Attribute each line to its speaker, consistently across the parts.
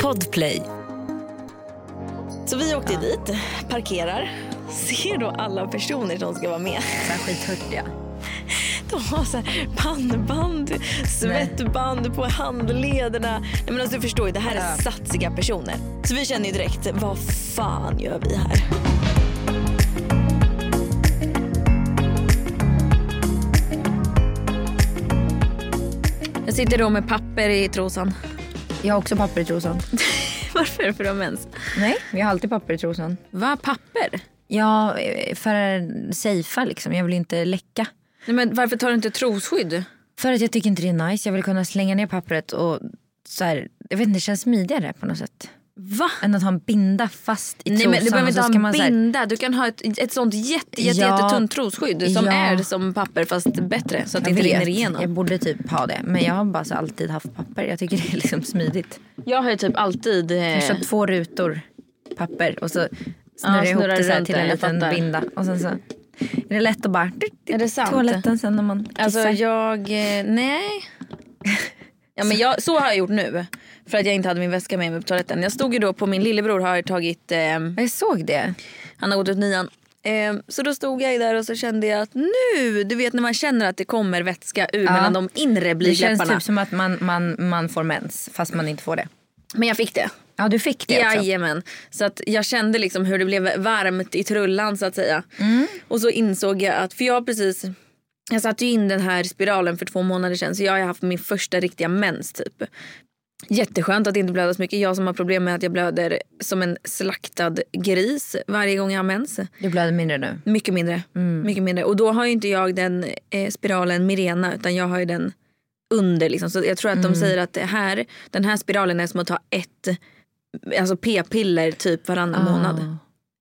Speaker 1: Podplay. Så vi åkte dit, parkerar, ser då alla personer som ska vara med.
Speaker 2: Så här skithurtiga.
Speaker 1: De har så här pannband, svettband på handlederna. Nej, men alltså, du förstår ju, det här är
Speaker 2: Ja.
Speaker 1: satsiga personer. Så vi känner ju direkt, vad fan gör vi här? Jag sitter då med papper i trosan.
Speaker 2: Jag har också papper i trosan.
Speaker 1: Varför? För de ens?
Speaker 2: Nej, jag har alltid papper i trosan.
Speaker 1: Va, papper?
Speaker 2: Ja, eh, för att safea liksom. Jag vill inte läcka.
Speaker 1: Nej, men varför tar du inte trosskydd?
Speaker 2: För att jag tycker inte det är nice. Jag vill kunna slänga ner pappret och så här, jag vet inte, det känns smidigare på något sätt.
Speaker 1: Va?
Speaker 2: Än att ha en binda fast i
Speaker 1: Nej
Speaker 2: trosan.
Speaker 1: men du behöver
Speaker 2: och
Speaker 1: inte
Speaker 2: så
Speaker 1: ha
Speaker 2: ska man
Speaker 1: en
Speaker 2: så här-
Speaker 1: binda. Du kan ha ett, ett sånt jätte, jätte,
Speaker 2: Ja.
Speaker 1: jättetunt trosskydd som
Speaker 2: Ja.
Speaker 1: är som papper fast bättre så att det
Speaker 2: Jag
Speaker 1: inte rinner
Speaker 2: vet,
Speaker 1: igenom.
Speaker 2: jag
Speaker 1: Jag,
Speaker 2: borde typ ha det. Men jag har bara så alltid haft papper. Jag tycker det är liksom smidigt.
Speaker 1: har ju typ alltid... eh,
Speaker 2: Jag kör två rutor papper och så snurrar
Speaker 1: Ja,
Speaker 2: jag ihop
Speaker 1: snurrar
Speaker 2: det så här
Speaker 1: runt
Speaker 2: till
Speaker 1: det,
Speaker 2: en
Speaker 1: jag
Speaker 2: liten
Speaker 1: fattar.
Speaker 2: binda. Och sen så är det lätt att bara...
Speaker 1: Är det sant?
Speaker 2: Toaletten sen när man kissar.
Speaker 1: Alltså jag... eh, Nej. Ja, men jag, så har jag gjort nu. För att jag inte hade min väska med mig på toaletten. Jag stod ju då på min lillebror har tagit... Eh,
Speaker 2: jag såg det.
Speaker 1: Han har gått ut nian. Ehm, Så då stod jag där och så kände jag att nu, du vet när man känner att det kommer vätska ur mellan de inre
Speaker 2: Det känns
Speaker 1: blygdläpparna.
Speaker 2: typ som att man, man, man får mens fast man inte får det.
Speaker 1: Men jag fick det.
Speaker 2: Ja, du fick det också.
Speaker 1: Jajamän. Så att jag kände liksom hur det blev varmt i trullan så att säga. Och så insåg jag att, för jag har precis, jag satte ju in den här spiralen för två månader sedan så jag har ju haft min första riktiga mens typ. Jätteskönt att inte blöda så mycket. Jag som har problem med att jag blöder som en slaktad gris varje gång jag har mens.
Speaker 2: Du blöder mindre nu. Mm.
Speaker 1: Mycket mindre. Mycket mindre. Och då har ju inte jag den eh, spiralen Mirena utan jag har ju den under. Liksom. Så jag tror att
Speaker 2: Mm.
Speaker 1: de säger att det här, den här spiralen är som att ta ett alltså p-piller typ varannan
Speaker 2: Ah,
Speaker 1: månad.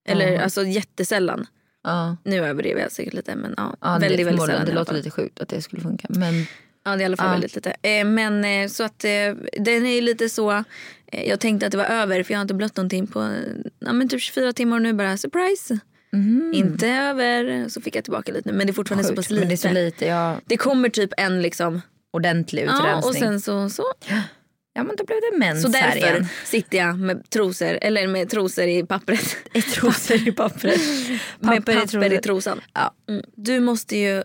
Speaker 1: Eller alltså jättesällan.
Speaker 2: Ja.
Speaker 1: Nu överdriver jag säkert lite men ja.
Speaker 2: Ah. Ja,
Speaker 1: väldigt,
Speaker 2: det,
Speaker 1: väldigt
Speaker 2: förmodligen.
Speaker 1: sällan. i
Speaker 2: det
Speaker 1: alla
Speaker 2: låter
Speaker 1: fall.
Speaker 2: lite sjukt att det skulle funka. Men
Speaker 1: Ja det är i alla fall
Speaker 2: Ja.
Speaker 1: väldigt lite. Eh, men eh, så att eh, den är ju lite så. Eh, jag tänkte att det var över för jag har inte blött någonting på eh, ja, men typ 24 timmar och nu bara surprise. Inte över. Så fick jag tillbaka lite nu men det är fortfarande så pass
Speaker 2: mm-hmm. Mm. sjukt.
Speaker 1: lite.
Speaker 2: Men det är så lite. Ja,
Speaker 1: Det kommer typ en liksom.
Speaker 2: ordentlig utrensning.
Speaker 1: Ja, och sen så. så.
Speaker 2: Ja men då blev det mens
Speaker 1: Så
Speaker 2: här
Speaker 1: därför
Speaker 2: igen.
Speaker 1: sitter jag med trosor, eller med trosor i pappret.
Speaker 2: I trosor i pappret.
Speaker 1: med papper i,
Speaker 2: trosor.
Speaker 1: trosan.
Speaker 2: Ja.
Speaker 1: Mm. Du måste ju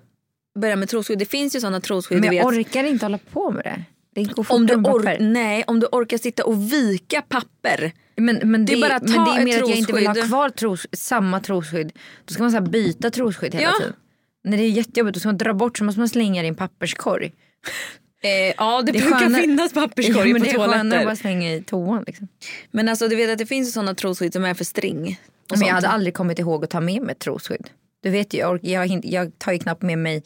Speaker 1: börja med trosskydd. Det finns ju sådana trosskydd
Speaker 2: Men
Speaker 1: du
Speaker 2: jag
Speaker 1: vet.
Speaker 2: orkar inte hålla på med det. Det går
Speaker 1: Om du,
Speaker 2: fortare med papper.
Speaker 1: or- nej, om du orkar sitta och vika papper.
Speaker 2: Men, men
Speaker 1: Det
Speaker 2: det,
Speaker 1: är bara att
Speaker 2: men det
Speaker 1: ta
Speaker 2: är
Speaker 1: ett
Speaker 2: mer att jag inte vill ha
Speaker 1: trosskydd.
Speaker 2: kvar tros, samma trosskydd. Då ska man så här byta trosskydd hela
Speaker 1: Ja.
Speaker 2: tiden. När det är jättejobbigt då ska man dra bort så måste man slänga det i en papperskorg.
Speaker 1: Eh, ja det,
Speaker 2: är
Speaker 1: brukar
Speaker 2: skönare-
Speaker 1: finnas papperskorg
Speaker 2: ja, men
Speaker 1: på
Speaker 2: det är skönare att bara
Speaker 1: toaletter.
Speaker 2: slänga i toan. Liksom.
Speaker 1: Men alltså du vet att det finns ju sådana trosskydd som är för string. Och
Speaker 2: Men jag
Speaker 1: sånt.
Speaker 2: hade aldrig kommit ihåg att ta med mig ett trosskydd. Du vet ju, jag, orkar, jag, hin- jag tar ju knappt med mig,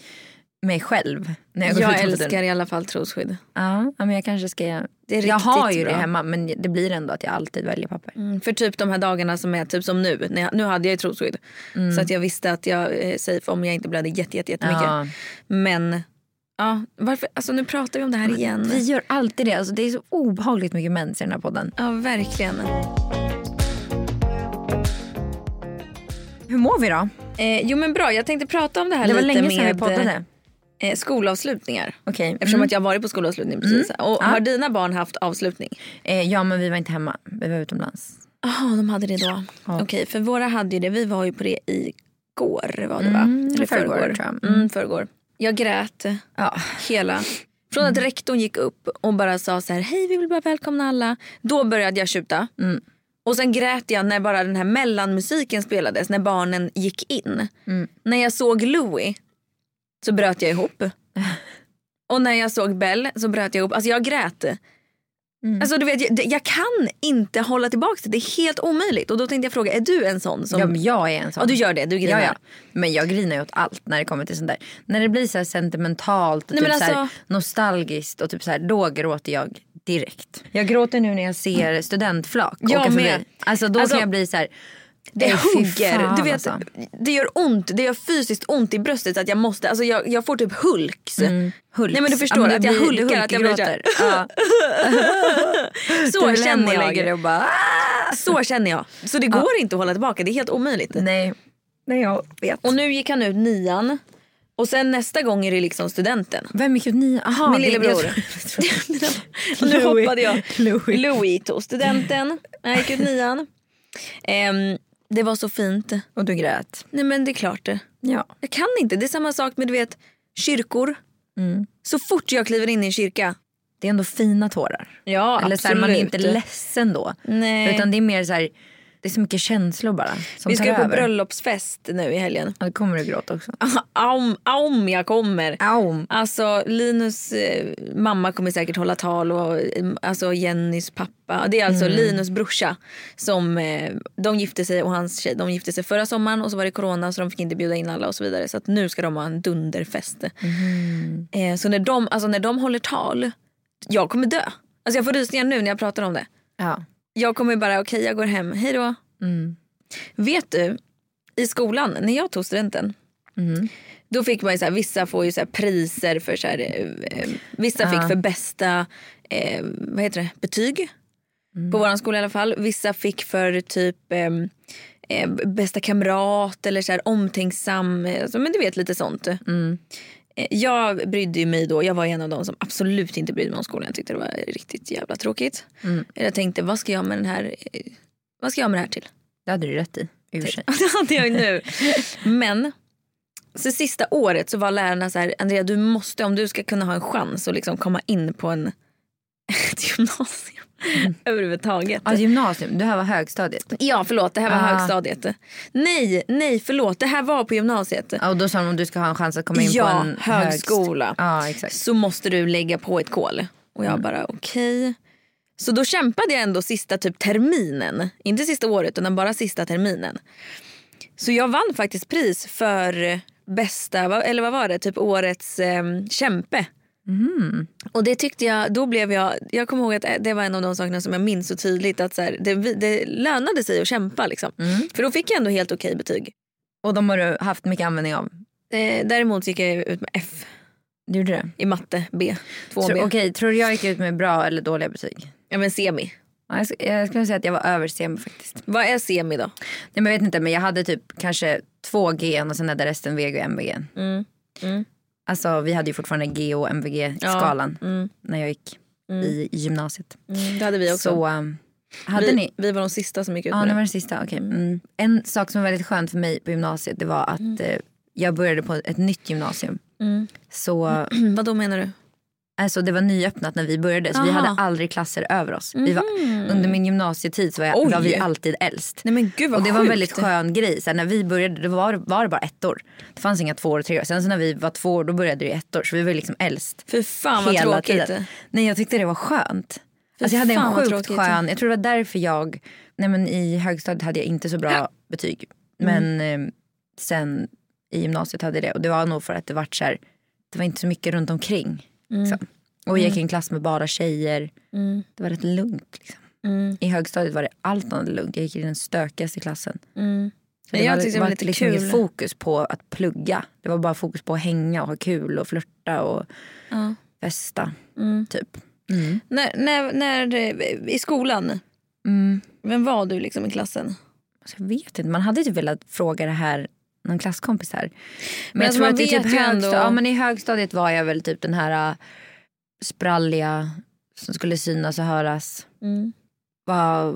Speaker 2: mig själv. När jag, går
Speaker 1: jag
Speaker 2: ut på den.
Speaker 1: älskar i alla fall trosskydd.
Speaker 2: Ja, ja, men jag kanske ska...
Speaker 1: Det är
Speaker 2: jag har
Speaker 1: riktigt
Speaker 2: ju det
Speaker 1: bra.
Speaker 2: hemma men det blir ändå att jag alltid väljer papper.
Speaker 1: Mm, För typ de här dagarna som är typ som nu. När jag, nu hade jag ju trosskydd.
Speaker 2: Mm.
Speaker 1: Så att jag visste att jag eh, safe om jag inte blödde jätte, jätte, jättemycket.
Speaker 2: Ja.
Speaker 1: Men ja, varför? Alltså nu pratar vi om det här igen.
Speaker 2: Vi gör alltid det. Alltså, det är så obehagligt mycket mens i den här podden.
Speaker 1: Ja verkligen.
Speaker 2: Hur mår vi då?
Speaker 1: Eh, jo men bra, jag tänkte prata om det här
Speaker 2: Det var
Speaker 1: lite
Speaker 2: länge
Speaker 1: med
Speaker 2: sedan vi poddade.
Speaker 1: Eh, skolavslutningar.
Speaker 2: Okej.
Speaker 1: Eftersom
Speaker 2: Mm.
Speaker 1: att jag har varit på skolavslutning precis. Och har dina barn haft avslutning?
Speaker 2: Eh, ja men vi var inte hemma. Vi var utomlands.
Speaker 1: Jaha, de hade det då.
Speaker 2: Ja.
Speaker 1: Okej, för våra hade ju det. Vi var ju på det igår var det va?
Speaker 2: Mm,
Speaker 1: Eller
Speaker 2: förrgår,
Speaker 1: förrgår.
Speaker 2: tror jag.
Speaker 1: Mm. förrgår. Jag grät eh,
Speaker 2: Ja. Mm.
Speaker 1: hela. Från att rektorn gick upp och bara sa så här, hej vi vill bara välkomna alla. Då började jag tjuta.
Speaker 2: Mm.
Speaker 1: Och sen grät jag när bara den här mellanmusiken spelades, när barnen gick in. När jag såg Louis så bröt jag ihop. och när jag såg Bell så bröt jag ihop. Alltså jag grät.
Speaker 2: Mm.
Speaker 1: Alltså du vet, jag, det- jag kan inte hålla tillbaka det. Det är helt omöjligt. Och då tänkte jag fråga, är du en sån som...
Speaker 2: ja men jag är en sån.
Speaker 1: Ja, du gör det, du grinar.
Speaker 2: Ja, ja. Men jag grinar ju åt allt när det kommer till sånt där. När det blir så här sentimentalt och
Speaker 1: Nej,
Speaker 2: typ
Speaker 1: men
Speaker 2: så här
Speaker 1: alltså-
Speaker 2: nostalgiskt och typ så här, då gråter jag direkt. Jag gråter nu när jag ser studentflak
Speaker 1: Jag
Speaker 2: åka
Speaker 1: med.
Speaker 2: förbi. Alltså då
Speaker 1: Alltså,
Speaker 2: kan jag bli så här.
Speaker 1: Det
Speaker 2: "Ej, fy
Speaker 1: eh, hugger.
Speaker 2: fan,
Speaker 1: du vet,
Speaker 2: alltså."
Speaker 1: Det gör ont. Det gör fysiskt ont i bröstet. Att jag, måste, alltså jag, jag får typ hulks.
Speaker 2: Hulks.
Speaker 1: Nej, men du förstår
Speaker 2: Ja,
Speaker 1: att
Speaker 2: det
Speaker 1: jag
Speaker 2: blir-
Speaker 1: hulkar.
Speaker 2: du
Speaker 1: att jag blir så
Speaker 2: hulkgråter.
Speaker 1: här-
Speaker 2: Ja. Du
Speaker 1: så
Speaker 2: vill hem
Speaker 1: känner
Speaker 2: och
Speaker 1: jag.
Speaker 2: lägger dig och bara. "Ah!"
Speaker 1: Så känner jag. Så det går inte att hålla tillbaka. Det är helt omöjligt.
Speaker 2: Nej. Nej jag vet.
Speaker 1: Och nu gick han ut nian. Och sen nästa gång är det liksom studenten.
Speaker 2: Vem gick ut nian? Aha,
Speaker 1: Min
Speaker 2: det-
Speaker 1: lillebror.
Speaker 2: jag tror-
Speaker 1: Och nu
Speaker 2: Louis.
Speaker 1: hoppade jag.
Speaker 2: Louis.
Speaker 1: Louis tog studenten. Jag gick ut nian. Ehm, det var så fint.
Speaker 2: Och du grät.
Speaker 1: Nej men det är klart det.
Speaker 2: Ja.
Speaker 1: Jag kan inte. Det är samma sak med du vet kyrkor.
Speaker 2: Mm.
Speaker 1: Så fort jag kliver in i en kyrka.
Speaker 2: Det är ändå fina tårar.
Speaker 1: Ja
Speaker 2: Eller så här, man är inte ledsen då.
Speaker 1: Nej.
Speaker 2: Utan det är mer så här, det är så mycket känslor bara som
Speaker 1: Vi
Speaker 2: tar
Speaker 1: ska ju på
Speaker 2: över.
Speaker 1: bröllopsfest nu i helgen.
Speaker 2: Ja, då kommer du gråta också.
Speaker 1: Om, om jag kommer.
Speaker 2: Au.
Speaker 1: Alltså Linus eh, mamma kommer säkert hålla tal och eh, alltså, Jennys pappa. Det är alltså Linus brorsa. Som, eh, de gifte sig och hans tjej de gifte sig förra sommaren och så var det corona så de fick inte bjuda in alla och så vidare. Så att nu ska de ha en dunderfest.
Speaker 2: Mm.
Speaker 1: Eh, så när de, alltså, när de håller tal, jag kommer dö. Alltså, jag får rysningar nu när jag pratar om det.
Speaker 2: Ja.
Speaker 1: Jag kommer bara okej jag går hem, hej då.
Speaker 2: Mm.
Speaker 1: Vet du, i skolan när jag tog studenten
Speaker 2: Mm.
Speaker 1: då fick man ju så här, vissa får ju så här priser för så här, eh, eh, vissa
Speaker 2: Ja.
Speaker 1: fick för bästa eh, vad heter det, betyg
Speaker 2: Mm.
Speaker 1: på våran skola i alla fall. Vissa fick för typ eh, eh, bästa kamrat eller så här omtänksam, eh, alltså, men du vet lite sånt.
Speaker 2: Mm.
Speaker 1: Eh, Jag brydde ju mig då, jag var en av de som absolut inte brydde mig om skolan. Jag tyckte det var riktigt jävla tråkigt.
Speaker 2: Mm.
Speaker 1: Jag tänkte vad ska jag med den här, eh, vad ska jag med det här till?
Speaker 2: Det hade du rätt i. i och för sig.
Speaker 1: Det hade jag ju nu. Men så sista året så var lärarna så här, Andrea du måste om du ska kunna ha en chans att liksom komma in på en ett gymnasium
Speaker 2: Mm.
Speaker 1: överhuvudtaget.
Speaker 2: Ja, gymnasium. Det här var högstadiet.
Speaker 1: Ja förlåt det här var
Speaker 2: Alltså, Ah.
Speaker 1: högstadiet. Nej, nej förlåt det här var på gymnasiet.
Speaker 2: Ja, och då sa de om du ska ha en chans att komma in
Speaker 1: Ja,
Speaker 2: på en
Speaker 1: högskola.
Speaker 2: högst- Ja, exakt.
Speaker 1: Så måste du lägga på ett kol. Och jag bara okej. Så då kämpade jag ändå sista typ terminen. Inte sista året utan bara sista terminen. Så jag vann faktiskt pris för bästa, vad- eller vad var det, typ årets eh, kämpe.
Speaker 2: Mm.
Speaker 1: Och det tyckte jag, då blev jag, jag kommer ihåg att eh, det var en av de sakerna som jag minns så tydligt att så här, det, det lönade sig att kämpa liksom. För då fick jag ändå helt okej betyg.
Speaker 2: Mm. Och de har du haft mycket användning av.
Speaker 1: Eh, däremot gick jag ut med F
Speaker 2: Du gjorde det?
Speaker 1: i matte, B, 2B.
Speaker 2: Tror, okej, tror du jag gick ut med bra eller dåliga betyg?
Speaker 1: Ja men semi.
Speaker 2: Ja, jag, sk- jag skulle säga att jag var över semi faktiskt.
Speaker 1: Vad är semi då?
Speaker 2: Nej, men jag vet inte, men jag hade typ kanske två G och sen hade resten VG och MVG.
Speaker 1: Mm. Mm.
Speaker 2: Alltså vi hade ju fortfarande G och MVG-skalan
Speaker 1: Mm.
Speaker 2: när jag gick i i gymnasiet.
Speaker 1: Mm. Det hade vi också.
Speaker 2: Så um, hade
Speaker 1: vi,
Speaker 2: ni?
Speaker 1: vi var de sista som gick ut
Speaker 2: Ja,
Speaker 1: med
Speaker 2: det
Speaker 1: det.
Speaker 2: var det sista. okej. Mm. En sak som var väldigt skönt för mig på gymnasiet det var att eh, jag började på ett nytt gymnasium.
Speaker 1: Mm.
Speaker 2: Så
Speaker 1: Vad då menar du?
Speaker 2: alltså, det var nyöppnat när vi började så vi
Speaker 1: Aha. Mm.
Speaker 2: hade aldrig klasser över oss. Vi var, under min gymnasietid så var, jag,
Speaker 1: Oj.
Speaker 2: var vi alltid äldst.
Speaker 1: Nej men gud vad
Speaker 2: Och det var en
Speaker 1: sjukt.
Speaker 2: väldigt skön grej. Så här, när vi började då var, var det bara ettor. Det fanns inga tvåor och treor. Sen så när vi var två år då började det ju ettor. Så vi var liksom äldst.
Speaker 1: Fy fan vad
Speaker 2: hela
Speaker 1: tråkigt.
Speaker 2: tiden. Nej jag tyckte det var skönt. Alltså jag hade
Speaker 1: fan,
Speaker 2: en
Speaker 1: vad
Speaker 2: sjukt
Speaker 1: tråkigt.
Speaker 2: skön, jag tror det var därför jag, nej men i högstadiet hade jag inte så bra betyg.
Speaker 1: Mm.
Speaker 2: Men eh, sen i gymnasiet hade jag det och det var nog för att det var så här, det var inte så mycket runt omkring. Liksom. Och jag gick i en klass med bara tjejer,
Speaker 1: Mm.
Speaker 2: det var rätt lugnt. Liksom.
Speaker 1: Mm.
Speaker 2: I högstadiet var det allt annat lugnt, jag gick i den stökigaste klassen.
Speaker 1: Mm.
Speaker 2: Så
Speaker 1: jag
Speaker 2: var-
Speaker 1: tyckte det var lite
Speaker 2: liksom
Speaker 1: kul.
Speaker 2: inget fokus på att plugga. Det var bara fokus på att hänga och ha kul och flirta och
Speaker 1: Ja.
Speaker 2: festa.
Speaker 1: Mm.
Speaker 2: Typ.
Speaker 1: När, när, när, eh, I skolan,
Speaker 2: Mm.
Speaker 1: vem var du liksom i klassen? Men,
Speaker 2: Alltså, jag vet inte, man hade ju velat fråga det här någon klasskompis här. Men, jag
Speaker 1: alltså,
Speaker 2: tror
Speaker 1: man
Speaker 2: att det är
Speaker 1: vet
Speaker 2: typ
Speaker 1: ju ändå-
Speaker 2: högsta- ja, men i högstadiet var jag väl typ den här äh, spralliga som skulle synas och höras.
Speaker 1: Mm.
Speaker 2: Var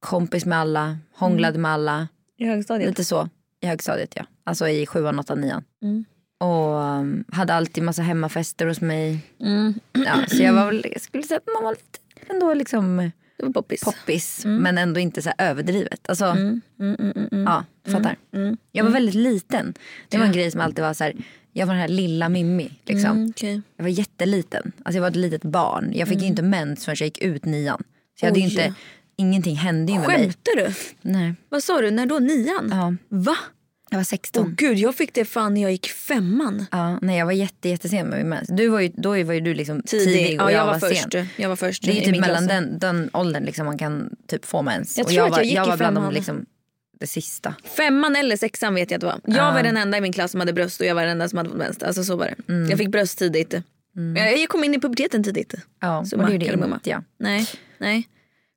Speaker 2: kompis med alla, hånglade
Speaker 1: Mm.
Speaker 2: med alla.
Speaker 1: I högstadiet?
Speaker 2: Lite så i högstadiet ja. Alltså i sjuan, åttan, nian.
Speaker 1: Mm.
Speaker 2: Och ähm, hade alltid massa hemmafester hos mig.
Speaker 1: Mm.
Speaker 2: Ja, så jag var väl, jag skulle säga att man var lite ändå liksom
Speaker 1: Det var poppis.
Speaker 2: poppis men ändå inte så här överdrivet. Alltså,
Speaker 1: Mm. Mm, mm, mm, mm.
Speaker 2: ja, du fattar.
Speaker 1: Mm.
Speaker 2: Jag var väldigt liten. Det var en grej som alltid var så här, jag var den här lilla Mimmi. Liksom.
Speaker 1: Mm, okej.
Speaker 2: Jag var jätteliten. Alltså jag var ett litet barn. Jag fick ju inte mens förrän jag gick ut nian. Så jag hade ju
Speaker 1: Mm. Oj.
Speaker 2: inte, ingenting hände ju med mig.
Speaker 1: Skämtar du?
Speaker 2: Nej.
Speaker 1: Vad sa du, när då? Nian?
Speaker 2: Ja,
Speaker 1: Va?
Speaker 2: jag var
Speaker 1: Åh
Speaker 2: 16.
Speaker 1: gud, jag fick det fan när jag gick femman.
Speaker 2: Ja, nej, jag var jätte, jättesen med min mens. Du var ju, då var ju du liksom tidig, och
Speaker 1: ja,
Speaker 2: jag,
Speaker 1: jag
Speaker 2: var,
Speaker 1: var
Speaker 2: sen.
Speaker 1: först. Jag var först
Speaker 2: Det är
Speaker 1: i
Speaker 2: ju typ
Speaker 1: min
Speaker 2: mellan
Speaker 1: klass.
Speaker 2: den, den åldern liksom man kan typ få mens.
Speaker 1: Jag
Speaker 2: och
Speaker 1: tror
Speaker 2: jag
Speaker 1: att
Speaker 2: var,
Speaker 1: jag gick i
Speaker 2: var bland de
Speaker 1: femman.
Speaker 2: liksom, det sista.
Speaker 1: Femman eller sexan vet jag att det var. Jag var den enda i min klass som hade bröst och jag var den enda som hade fått mens. Alltså så var det.
Speaker 2: Mm.
Speaker 1: Jag fick bröst tidigt. Jag- Jag kom in i puberteten tidigt.
Speaker 2: Ja,
Speaker 1: Så
Speaker 2: och det
Speaker 1: man
Speaker 2: gjorde
Speaker 1: kan mumma.
Speaker 2: inte jag.
Speaker 1: Nej, nej.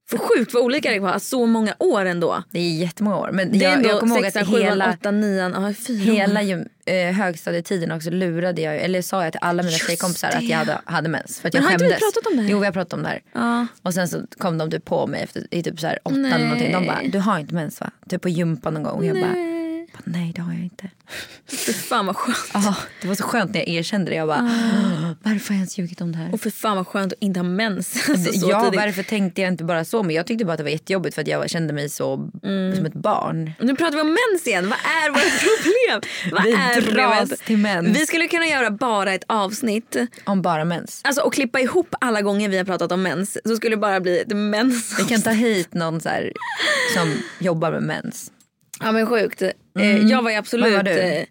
Speaker 1: För sjukt vad olika det var, Alltså, så många år ändå.
Speaker 2: Det är jättemånga år. Men
Speaker 1: Det är
Speaker 2: jag,
Speaker 1: ändå
Speaker 2: jag kommer ihåg
Speaker 1: sexan,
Speaker 2: att
Speaker 1: sjuan,
Speaker 2: hela,
Speaker 1: åttan, nian, ja, fyra
Speaker 2: hela
Speaker 1: år.
Speaker 2: gym, eh, högstadietiden också lurade jag, eller sa jag till alla mina
Speaker 1: Just
Speaker 2: tjejkompisar att
Speaker 1: det.
Speaker 2: jag hade, hade mens. För att
Speaker 1: Men
Speaker 2: jag
Speaker 1: har inte vi
Speaker 2: skämdes.
Speaker 1: pratat om det här?
Speaker 2: Jo vi har pratat om det här.
Speaker 1: Ja.
Speaker 2: Och sen så kom de typ på mig efter, i typ så här åtta eller någonting. De bara,
Speaker 1: Nej.
Speaker 2: du har inte mens va? Typ på gympa någon gång. Och jag bara,
Speaker 1: Nej.
Speaker 2: nej det har jag inte.
Speaker 1: Fy fan vad skönt.
Speaker 2: Ja, det var så skönt när jag erkände det. Jag bara, varför har jag ens ljugit om det här?
Speaker 1: Och för fan vad skönt att inte ha mens. Alltså, så
Speaker 2: ja,
Speaker 1: tidigt.
Speaker 2: varför tänkte jag inte bara så? Men jag tyckte bara att det var jättejobbigt för att jag kände mig så
Speaker 1: Mm.
Speaker 2: som ett barn.
Speaker 1: Nu pratar vi om mens igen. Vad är vårt problem? Vad
Speaker 2: Vi
Speaker 1: är
Speaker 2: dras
Speaker 1: problemet?
Speaker 2: till mens.
Speaker 1: Vi skulle kunna göra bara ett avsnitt
Speaker 2: Om bara mens.
Speaker 1: alltså, och klippa ihop alla gånger vi har pratat om mens. Så skulle det bara bli ett mens.
Speaker 2: Vi kan ta hit någon så här, som jobbar med mens.
Speaker 1: Ja men sjukt. Eh, jag var ju absolut...
Speaker 2: Vad var du?
Speaker 1: eh,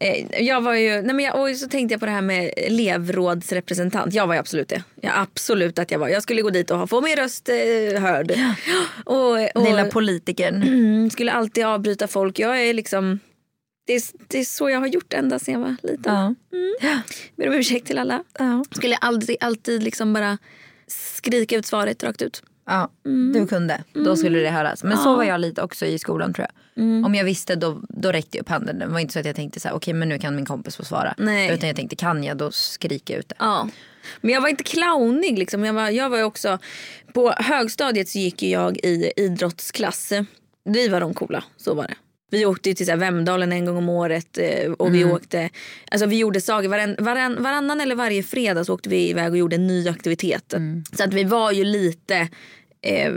Speaker 1: eh, Jag var ju, nej men jag, och så tänkte jag på det här med elevrådsrepresentant. Jag var ju absolut det. Ja, absolut att jag var. Jag skulle gå dit och ha- få min röst eh, hörd. Och, och,
Speaker 2: Lilla politikern.
Speaker 1: mm, skulle alltid avbryta folk. Jag är liksom, det är, det är så jag har gjort ända sedan jag var liten.
Speaker 2: Ja.
Speaker 1: Ber om ursäkt till alla.
Speaker 2: Ja.
Speaker 1: Skulle alltid, alltid liksom bara skrika ut svaret rakt ut.
Speaker 2: Ja,
Speaker 1: Mm.
Speaker 2: du kunde. Då skulle det höras. Men så var jag lite också i skolan tror jag.
Speaker 1: Mm.
Speaker 2: Om jag visste då, då räckte jag upp handen. Det var inte så att jag tänkte så här, okej men nu kan min kompis få svara.
Speaker 1: Nej.
Speaker 2: Utan jag tänkte kan jag då skrika ut det.
Speaker 1: Ja. Men jag var inte clownig. Liksom. Jag, var, jag var ju också, på högstadiet så gick ju jag i idrottsklass. Vi var de coola, så var det. Vi åkte ju till så här Vemdalen en gång om året eh, och vi
Speaker 2: Mm.
Speaker 1: åkte, alltså vi gjorde saker. Varann, varann, varannan eller varje fredag så åkte vi iväg och gjorde en ny aktivitet.
Speaker 2: Mm.
Speaker 1: Så att vi var ju lite eh,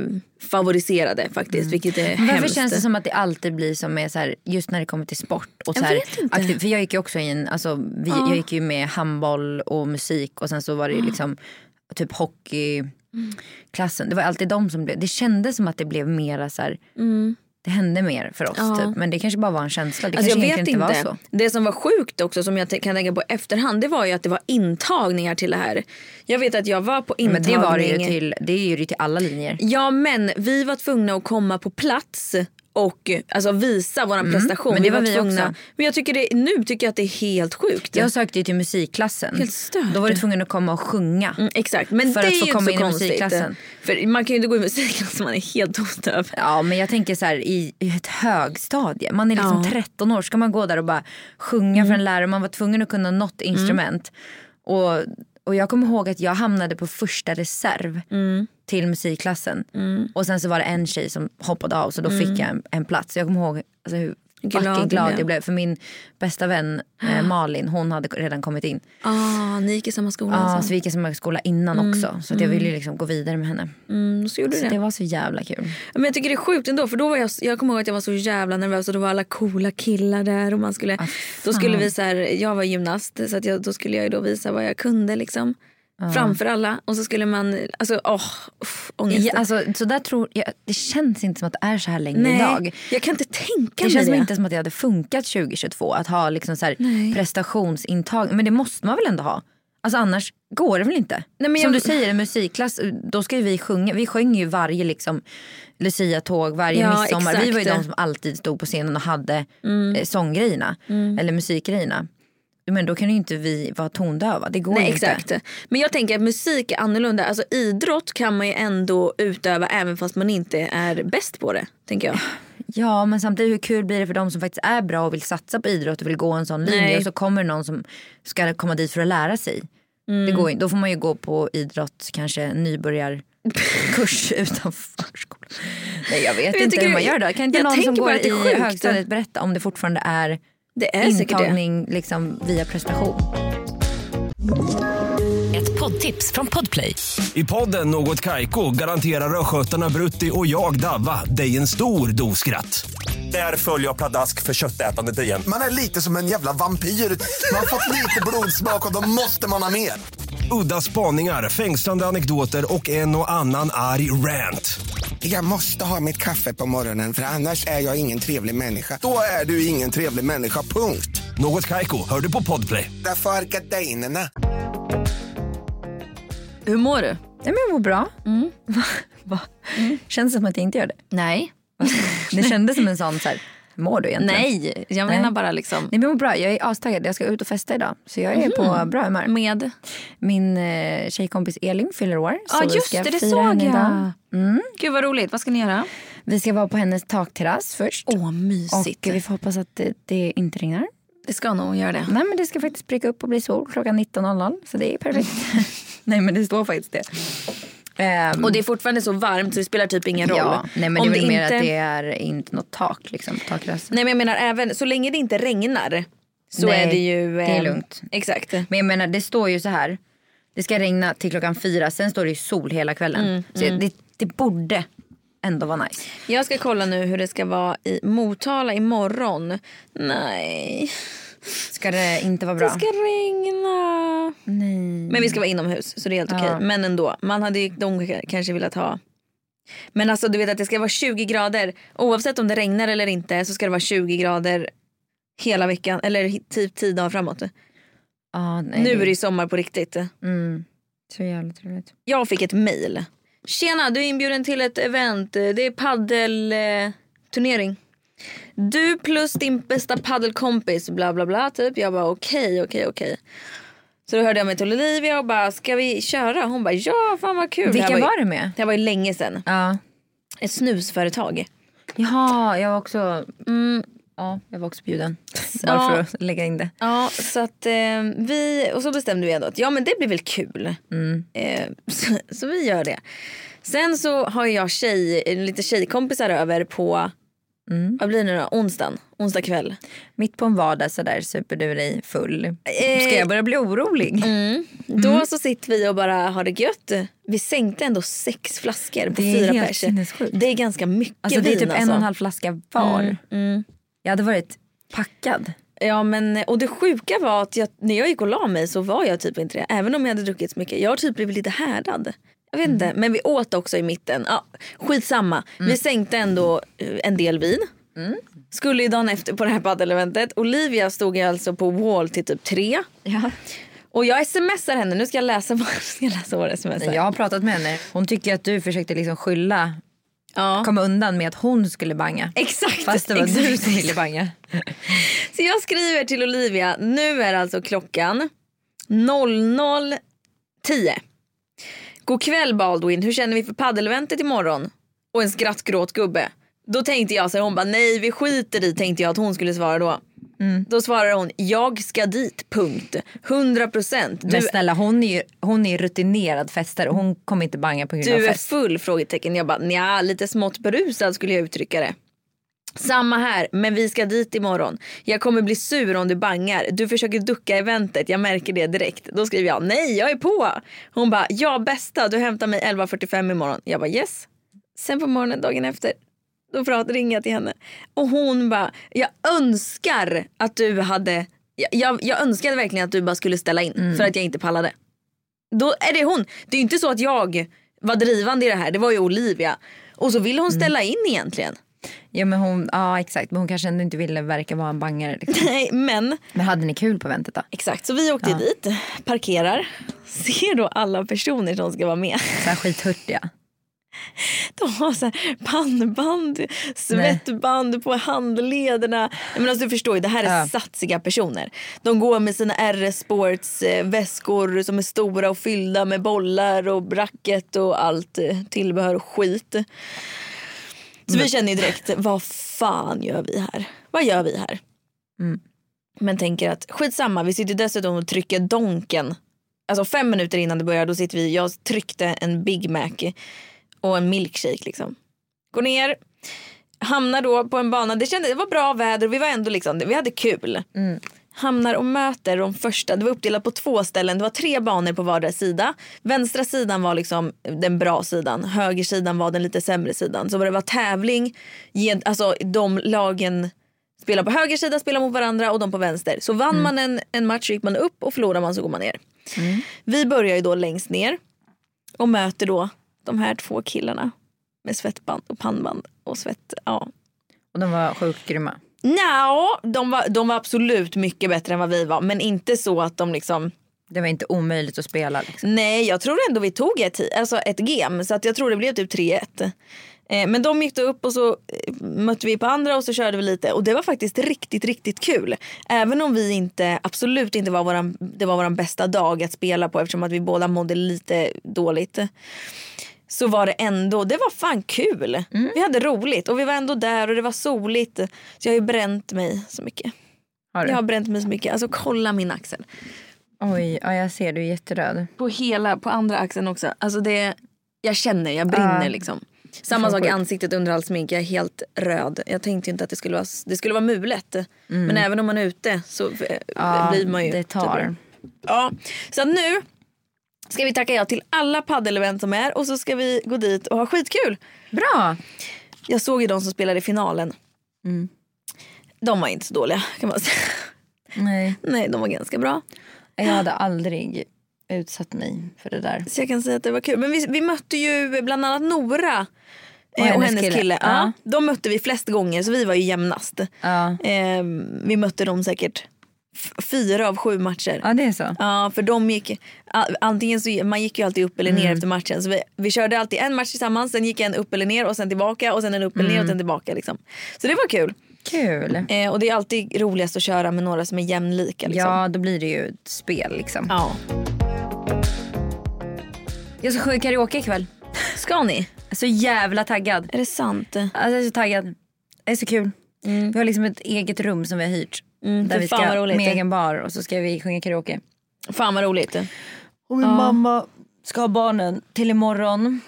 Speaker 1: favoriserade faktiskt, vilket är
Speaker 2: Mm. Varför
Speaker 1: hemskt.
Speaker 2: känns det som att det alltid blir som med så här, just när det kommer till sport och så
Speaker 1: Jag
Speaker 2: här,
Speaker 1: vet inte.
Speaker 2: aktiv- För jag gick ju också in, alltså, vi, jag gick ju med handboll och musik och sen så var det ju liksom typ
Speaker 1: Mm.
Speaker 2: hockeyklassen. Det var alltid de som blev, det kändes som att det blev mera så här, det hände mer för oss
Speaker 1: Mm. Ja.
Speaker 2: typ. Men det kanske bara var en känsla, det
Speaker 1: Alltså jag
Speaker 2: kanske
Speaker 1: vet
Speaker 2: egentligen
Speaker 1: inte.
Speaker 2: inte var så.
Speaker 1: Det som var sjukt också som jag t- kan tänka på efterhand det var ju att det var intagningar till det här. Jag vet att jag var på
Speaker 2: Men
Speaker 1: intagning.
Speaker 2: det var det ju till, det är ju det till alla linjer.
Speaker 1: Ja men vi var tvungna att komma på plats och alltså, visa vår prestation.
Speaker 2: Mm, men det var vi också.
Speaker 1: Men jag tycker det, nu tycker jag att det är helt sjukt.
Speaker 2: Jag sökte ju till musikklassen.
Speaker 1: Helt stört.
Speaker 2: Då var du tvungen att komma och sjunga.
Speaker 1: Mm, Exakt, men
Speaker 2: För
Speaker 1: det
Speaker 2: att
Speaker 1: är
Speaker 2: få
Speaker 1: ju
Speaker 2: komma
Speaker 1: inte
Speaker 2: in
Speaker 1: så
Speaker 2: i
Speaker 1: konstigt.
Speaker 2: musikklassen.
Speaker 1: För man kan ju inte gå i musikklassen man är helt ostöv.
Speaker 2: Ja men jag tänker så här i i ett högstadie, man är liksom
Speaker 1: Ja. Mm.
Speaker 2: 13 år, ska man gå där och bara sjunga för en lärare, man var tvungen att kunna något instrument. Och, och jag kommer ihåg att jag hamnade på första reserv
Speaker 1: Mm.
Speaker 2: till musikklassen. Och sen så var det en tjej som hoppade av så då fick jag en, en plats. Så jag kommer ihåg alltså, hur
Speaker 1: Mm. Glad
Speaker 2: glad,
Speaker 1: du
Speaker 2: glad
Speaker 1: blev.
Speaker 2: jag blev för min bästa vän eh, Malin hon hade redan kommit in.
Speaker 1: Ah, ni gick i samma skola
Speaker 2: Ja,
Speaker 1: alltså.
Speaker 2: så vi gick i samma skola innan också så att jag ville ju liksom gå vidare med henne.
Speaker 1: Mm, så gjorde du
Speaker 2: Så
Speaker 1: det.
Speaker 2: det var så jävla kul.
Speaker 1: Men jag tycker det är sjukt ändå för då var jag, jag kommer ihåg att jag var så jävla nervös och då var alla coola killar där och man skulle, då skulle vi så här, jag var gymnast så att jag, då skulle jag ju då visa vad jag kunde liksom framför alla och så skulle man, alltså åh, uff, ångest.
Speaker 2: Ja, alltså, så där tror jag, det känns inte som att det är så här längre
Speaker 1: Nej,
Speaker 2: idag.
Speaker 1: jag kan inte tänka
Speaker 2: Det
Speaker 1: mig
Speaker 2: känns
Speaker 1: det.
Speaker 2: som inte som att det hade funkat 2022 att ha liksom så här
Speaker 1: Nej.
Speaker 2: prestationsintag. Men det måste man väl ändå ha? Alltså annars går det väl inte?
Speaker 1: Nej, men
Speaker 2: som
Speaker 1: jag-
Speaker 2: du säger, en musikklass, då ska ju vi sjunga. Vi sjöng ju varje liksom, Lucia-tåg, varje
Speaker 1: Ja,
Speaker 2: midsommar. Vi var ju
Speaker 1: exakt. Mm.
Speaker 2: de som alltid stod på scenen och hade eh, sånggrejerna. Eller musikgrejerna. Men då kan ju inte vi vara tondöva. Det går
Speaker 1: Nej,
Speaker 2: ju inte.
Speaker 1: exakt. Men jag tänker att musik är annorlunda. Alltså idrott kan man ju ändå utöva även fast man inte är bäst på det. Tänker jag.
Speaker 2: Ja men samtidigt hur kul blir det för de som faktiskt är bra och vill satsa på idrott och vill gå en sån
Speaker 1: Nej.
Speaker 2: linje och så kommer någon som ska komma dit för att lära sig. Det
Speaker 1: Mm.
Speaker 2: går, ju- då får man ju gå på idrott kanske en nybörjarkurs utanför skolan. Nej jag vet
Speaker 1: Jag
Speaker 2: inte
Speaker 1: tycker-
Speaker 2: hur man gör då. Kan inte
Speaker 1: jag
Speaker 2: någon som
Speaker 1: tänker bara
Speaker 2: går
Speaker 1: att det är
Speaker 2: i
Speaker 1: sjukt.
Speaker 2: högstadiet berätta om det fortfarande är,
Speaker 1: Det är säkert det.
Speaker 2: intagning liksom, via prestation?
Speaker 3: Ett poddtips från Podplay.
Speaker 4: I podden Något Kaiko garanterar östgötarna Brutti och jag, Davva, dig en stor dos skratt. Där följer jag pladask för köttätandet igen.
Speaker 5: Man är lite som en jävla vampyr. Man har fått lite blodsmak och då måste man ha mer.
Speaker 4: Udda spaningar, fängslande anekdoter och en och annan arg rant.
Speaker 5: Jag måste ha mitt kaffe på morgonen för annars är jag ingen trevlig människa. Då är du ingen trevlig människa, punkt.
Speaker 4: Något Kaiko, hör du på Podplay.
Speaker 5: Därför är gardinerna.
Speaker 1: Hur mår du?
Speaker 2: Nej men jag mår bra. Va? Va? Mm. Känns som att jag inte gör det.
Speaker 1: Nej.
Speaker 2: Det kändes som en sån så här, mår du egentligen?
Speaker 1: Nej, jag
Speaker 2: Nej.
Speaker 1: menar bara liksom
Speaker 2: Nej men jag mår bra, jag är astaggad. Jag ska ut och festa idag. Så jag är på
Speaker 1: Mhm.
Speaker 2: bra humör.
Speaker 1: med.
Speaker 2: Min eh, tjejkompis Elin fyller år.
Speaker 1: Ja,
Speaker 2: vi
Speaker 1: just
Speaker 2: ska
Speaker 1: det, det
Speaker 2: fira
Speaker 1: såg
Speaker 2: henne
Speaker 1: jag.
Speaker 2: idag. Mm.
Speaker 1: Gud vad roligt, vad ska ni göra?
Speaker 2: Vi ska vara på hennes takterrass först.
Speaker 1: Åh
Speaker 2: och
Speaker 1: mysigt.
Speaker 2: vi får hoppas att det, det inte regnar.
Speaker 1: Det ska nog göra det.
Speaker 2: Nej men det ska faktiskt pricka upp och bli sol klockan 19.00. Så det är perfekt. Nej men det står faktiskt det. Ehm,
Speaker 1: Mm. Och det är fortfarande så varmt så det spelar typ ingen roll.
Speaker 2: Ja, nej men det är
Speaker 1: Om
Speaker 2: väl mer att det är inte något tak liksom på takterrassen.
Speaker 1: Nej men jag menar även så länge det inte regnar så
Speaker 2: Nej,
Speaker 1: är det ju...
Speaker 2: det är
Speaker 1: eh,
Speaker 2: lugnt.
Speaker 1: Exakt.
Speaker 2: Men jag menar det står ju så här. Det ska regna till klockan fyra, sen står det ju sol hela kvällen.
Speaker 1: Mm,
Speaker 2: så Det, det borde ändå vara nice.
Speaker 1: Jag ska kolla nu hur det ska vara i Motala imorgon. Nej,
Speaker 2: Ska det inte vara
Speaker 1: det
Speaker 2: bra?
Speaker 1: ska regna.
Speaker 2: Nej.
Speaker 1: Men vi ska vara inomhus så det är helt okej.
Speaker 2: Ja.
Speaker 1: Men ändå, man hade ju de k- kanske velat ha. Men alltså du vet att det ska vara 20 grader. Oavsett om det regnar eller inte så ska det vara 20 grader hela veckan. Eller typ 10 dagar framåt.
Speaker 2: Ah, nej,
Speaker 1: Nu är det ju sommar på riktigt.
Speaker 2: Mm. Så jävla trevligt.
Speaker 1: Jag fick ett mejl. Tjena, du är inbjuden till ett event. Det är paddelturnering. Eh, turnering. du plus din bästa paddelkompis bla bla bla typ. Jag bara okej, okej, okej. Så då hörde jag mig till Olivia och bara ska vi köra? Hon bara ja, fan vad kul.
Speaker 2: Vilka
Speaker 1: det? här
Speaker 2: var
Speaker 1: ju-
Speaker 2: du med?
Speaker 1: Det här var ju länge sedan.
Speaker 2: Ja.
Speaker 1: Ett snusföretag.
Speaker 2: Jaha, jag var också...
Speaker 1: Mm.
Speaker 2: Ja, jag var också bjuden. Bara för att lägga in det.
Speaker 1: Ja, så att eh, vi, och så bestämde vi ändå att ja men det blir väl kul.
Speaker 2: Mm.
Speaker 1: Eh, så, så vi gör det. Sen så har jag tjej, lite tjejkompisar över på,
Speaker 2: Mm.
Speaker 1: vad blir det nu då, onsdagen? Onsdag kväll.
Speaker 2: Mitt på en vardag så där super du dig full.
Speaker 1: Eh, mm,
Speaker 2: Ska jag börja bli orolig? Mm.
Speaker 1: Då så sitter vi och bara har det gött. Vi sänkte ändå sex flaskor på
Speaker 2: Det är
Speaker 1: fyra
Speaker 2: helt
Speaker 1: pers.
Speaker 2: sinnessjukt.
Speaker 1: Det är ganska mycket
Speaker 2: Alltså det
Speaker 1: vin
Speaker 2: är typ
Speaker 1: alltså.
Speaker 2: en och en halv flaska var.
Speaker 1: Mm.
Speaker 2: Jag hade varit packad.
Speaker 1: Ja, men, och det sjuka var att jag, när jag gick och la mig så var jag typ inte det. Även om jag hade druckit så mycket. Jag har typ blivit lite härdad. Jag vet
Speaker 2: Mm.
Speaker 1: inte, men vi åt också i mitten. Ja, skitsamma. Vi sänkte ändå eh, en del vin.
Speaker 2: Mm.
Speaker 1: Skulle ju dagen efter på det här paddeleventet. Olivia stod ju alltså på wall till typ tre.
Speaker 2: Ja.
Speaker 1: Och jag smsar henne. Nu ska jag läsa, vad- ska jag läsa våra sms. här.
Speaker 2: Jag har pratat med henne. Hon tycker att du försökte liksom skylla,
Speaker 1: Ja.
Speaker 2: komma undan med att hon skulle banga.
Speaker 1: Exakt.
Speaker 2: Fast det var
Speaker 1: exakt.
Speaker 2: du som ville banga.
Speaker 1: Så jag skriver till Olivia, nu är alltså klockan 00.10. God kväll Baldwin, hur känner vi för paddeleventet imorgon? Och en skrattgråt gubbe. Då tänkte jag så här, hon bara nej vi skiter i tänkte jag att hon skulle svara då. Då svarar hon, jag ska dit, punkt. 100 procent.
Speaker 2: Men
Speaker 1: Du,
Speaker 2: snälla hon är ju, hon är ju rutinerad festare och hon kommer inte banga på grund av
Speaker 1: du är
Speaker 2: fest.
Speaker 1: full? frågetecken. Jag bara, nja lite smått berusad skulle jag uttrycka det. Samma här, men vi ska dit imorgon. Jag kommer bli sur om du bangar. Du försöker ducka eventet, jag märker det direkt. Då skriver jag nej, jag är på. Hon bara, ja bästa, du hämtar mig 11.45 imorgon. Jag bara yes. Sen på morgonen dagen efter, då prat, ringer jag till henne. Och hon bara, jag önskar att du hade, jag, jag, jag önskade verkligen att du bara skulle ställa in
Speaker 2: Mm.
Speaker 1: för att jag inte pallade. Då är det hon. Det är ju inte så att jag var drivande i det här, det var ju Olivia. Och så vill hon ställa in egentligen.
Speaker 2: Ja men hon, ja exakt. Men hon kanske ändå inte ville verka vara en bangare. Liksom.
Speaker 1: Nej, men
Speaker 2: Men hade ni kul på eventet då?
Speaker 1: exakt. Så vi åkte dit, parkerar, ser då alla personer som ska vara med.
Speaker 2: Så här skithurtiga.
Speaker 1: De har så här pannband, svettband på handlederna. Jag menar, alltså, du förstår ju, det här är
Speaker 2: Ja.
Speaker 1: satsiga personer. De går med sina RS Sports eh, väskor som är stora och fyllda med bollar och racket och allt eh, tillbehör och skit. Så vi känner ju direkt, vad fan gör vi här? Vad gör vi här? Men tänker att skitsamma, vi sitter dessutom och trycker donken. Alltså fem minuter innan det börjar, då sitter vi, jag tryckte en Big Mac och en milkshake liksom. Går ner, hamnar då på en bana, det, kändes, det var bra väder och vi var ändå liksom, vi hade kul. Hamnar och möter de första, det var uppdelat på två ställen, det var tre banor på vardera sida. Vänstra sidan var liksom den bra sidan, höger sidan var den lite sämre sidan. Så det var tävling, gen- alltså de lagen spelar på höger sida, spelar mot varandra och de på vänster. Så vann man en, en match så gick man upp och förlorar man så går man ner. Vi börjar ju då längst ner och möter då de här två killarna med svettband och pannband och svett. Ja.
Speaker 2: Och de var sjukt grymma.
Speaker 1: Nja, de var, de var absolut mycket bättre än vad vi var men inte så att de liksom
Speaker 2: Det var inte omöjligt att spela. Liksom.
Speaker 1: Nej, jag tror ändå vi tog ett, alltså ett gem så att jag tror det blev typ 3-1. Eh, men de gick då upp och så eh, mötte vi på andra och så körde vi lite och det var faktiskt riktigt, riktigt kul. Även om vi inte, absolut inte var våran, det var våran bästa dag att spela på eftersom att vi båda mådde lite dåligt. Så var det ändå, det var fan kul.
Speaker 2: Mm.
Speaker 1: Vi hade roligt och vi var ändå där och det var soligt. Så jag har ju bränt mig så mycket.
Speaker 2: Har du?
Speaker 1: Jag har bränt mig så mycket. Alltså kolla min axel.
Speaker 2: Oj, ja, jag ser du är jätteröd.
Speaker 1: På hela, på andra axeln också. Alltså det, jag känner, jag brinner liksom. Samma sak i ansiktet under allt smink, jag är helt röd. Jag tänkte ju inte att det skulle vara, s- det skulle vara mulet. Men även om man är ute så eh,
Speaker 2: Mm. Ja,
Speaker 1: blir man ju typ-
Speaker 2: det tar.
Speaker 1: Ja. Så att nu ska vi tacka ja till alla paddelevent som är och så ska vi gå dit och ha skitkul.
Speaker 2: Bra!
Speaker 1: Jag såg ju de som spelade i finalen. Mm. De var inte så dåliga kan man säga.
Speaker 2: Nej,
Speaker 1: Nej, de var ganska bra.
Speaker 2: jag hade aldrig utsatt mig för det där.
Speaker 1: Så jag kan säga att det var kul. Men vi, vi mötte ju bland annat Nora eh, och, hennes kille. Ja.
Speaker 2: Ja.
Speaker 1: De mötte vi flest gånger så vi var ju jämnast.
Speaker 2: Ja,
Speaker 1: Eh, vi mötte dem säkert f- fyra av sju matcher.
Speaker 2: ja det är så.
Speaker 1: Ja, för de gick, a- antingen så, man gick ju alltid upp eller ner efter matchen. Så vi, vi körde alltid en match tillsammans, sen gick en upp eller ner och sen tillbaka och sen en upp eller ner och sen tillbaka. Liksom. Så det var kul.
Speaker 2: Kul.
Speaker 1: Eh, och det är alltid roligast att köra med några som är jämlika. Liksom.
Speaker 2: Ja, då blir det ju ett spel liksom.
Speaker 1: ja.
Speaker 2: Jag ska sjunga karaoke ikväll.
Speaker 1: Ska ni?
Speaker 2: Jag är Så jävla taggad.
Speaker 1: Är det sant?
Speaker 2: Alltså, jag är så taggad. Det är så kul. Vi har liksom ett eget rum som vi har hyrt. där
Speaker 1: fy
Speaker 2: vi
Speaker 1: fan
Speaker 2: ska
Speaker 1: vad roligt.
Speaker 2: med egen bar och så ska vi sjunga karaoke.
Speaker 1: Fan vad roligt.
Speaker 2: Och min mamma Mm. ska ha barnen till imorgon.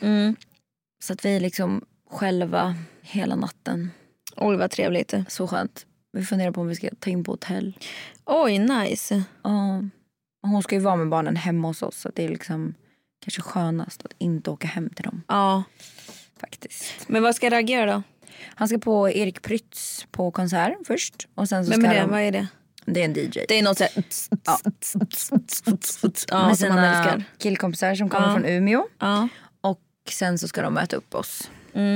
Speaker 2: Så att vi är liksom själva hela natten.
Speaker 1: Oj vad trevligt.
Speaker 2: Så skönt. Vi funderar på om vi ska ta in på hotell.
Speaker 1: Oj nice.
Speaker 2: Ja. Hon ska ju vara med barnen hemma hos oss så att det är liksom kanske skönast att inte åka hem till dem
Speaker 1: Ja.
Speaker 2: faktiskt.
Speaker 1: Men vad ska Ragge göra då?
Speaker 2: Han ska på Erik Prytz på konsert först. Och sen så
Speaker 1: Vem
Speaker 2: ska
Speaker 1: är det?
Speaker 2: de...
Speaker 1: Vad är det?
Speaker 2: Det är en DJ.
Speaker 1: Det är något såhär...
Speaker 2: Ja.
Speaker 1: Ja,
Speaker 2: med
Speaker 1: som han
Speaker 2: sina
Speaker 1: älskar.
Speaker 2: killkompisar som kommer
Speaker 1: Ja.
Speaker 2: från Umeå.
Speaker 1: Ja.
Speaker 2: Och sen så ska de möta upp oss.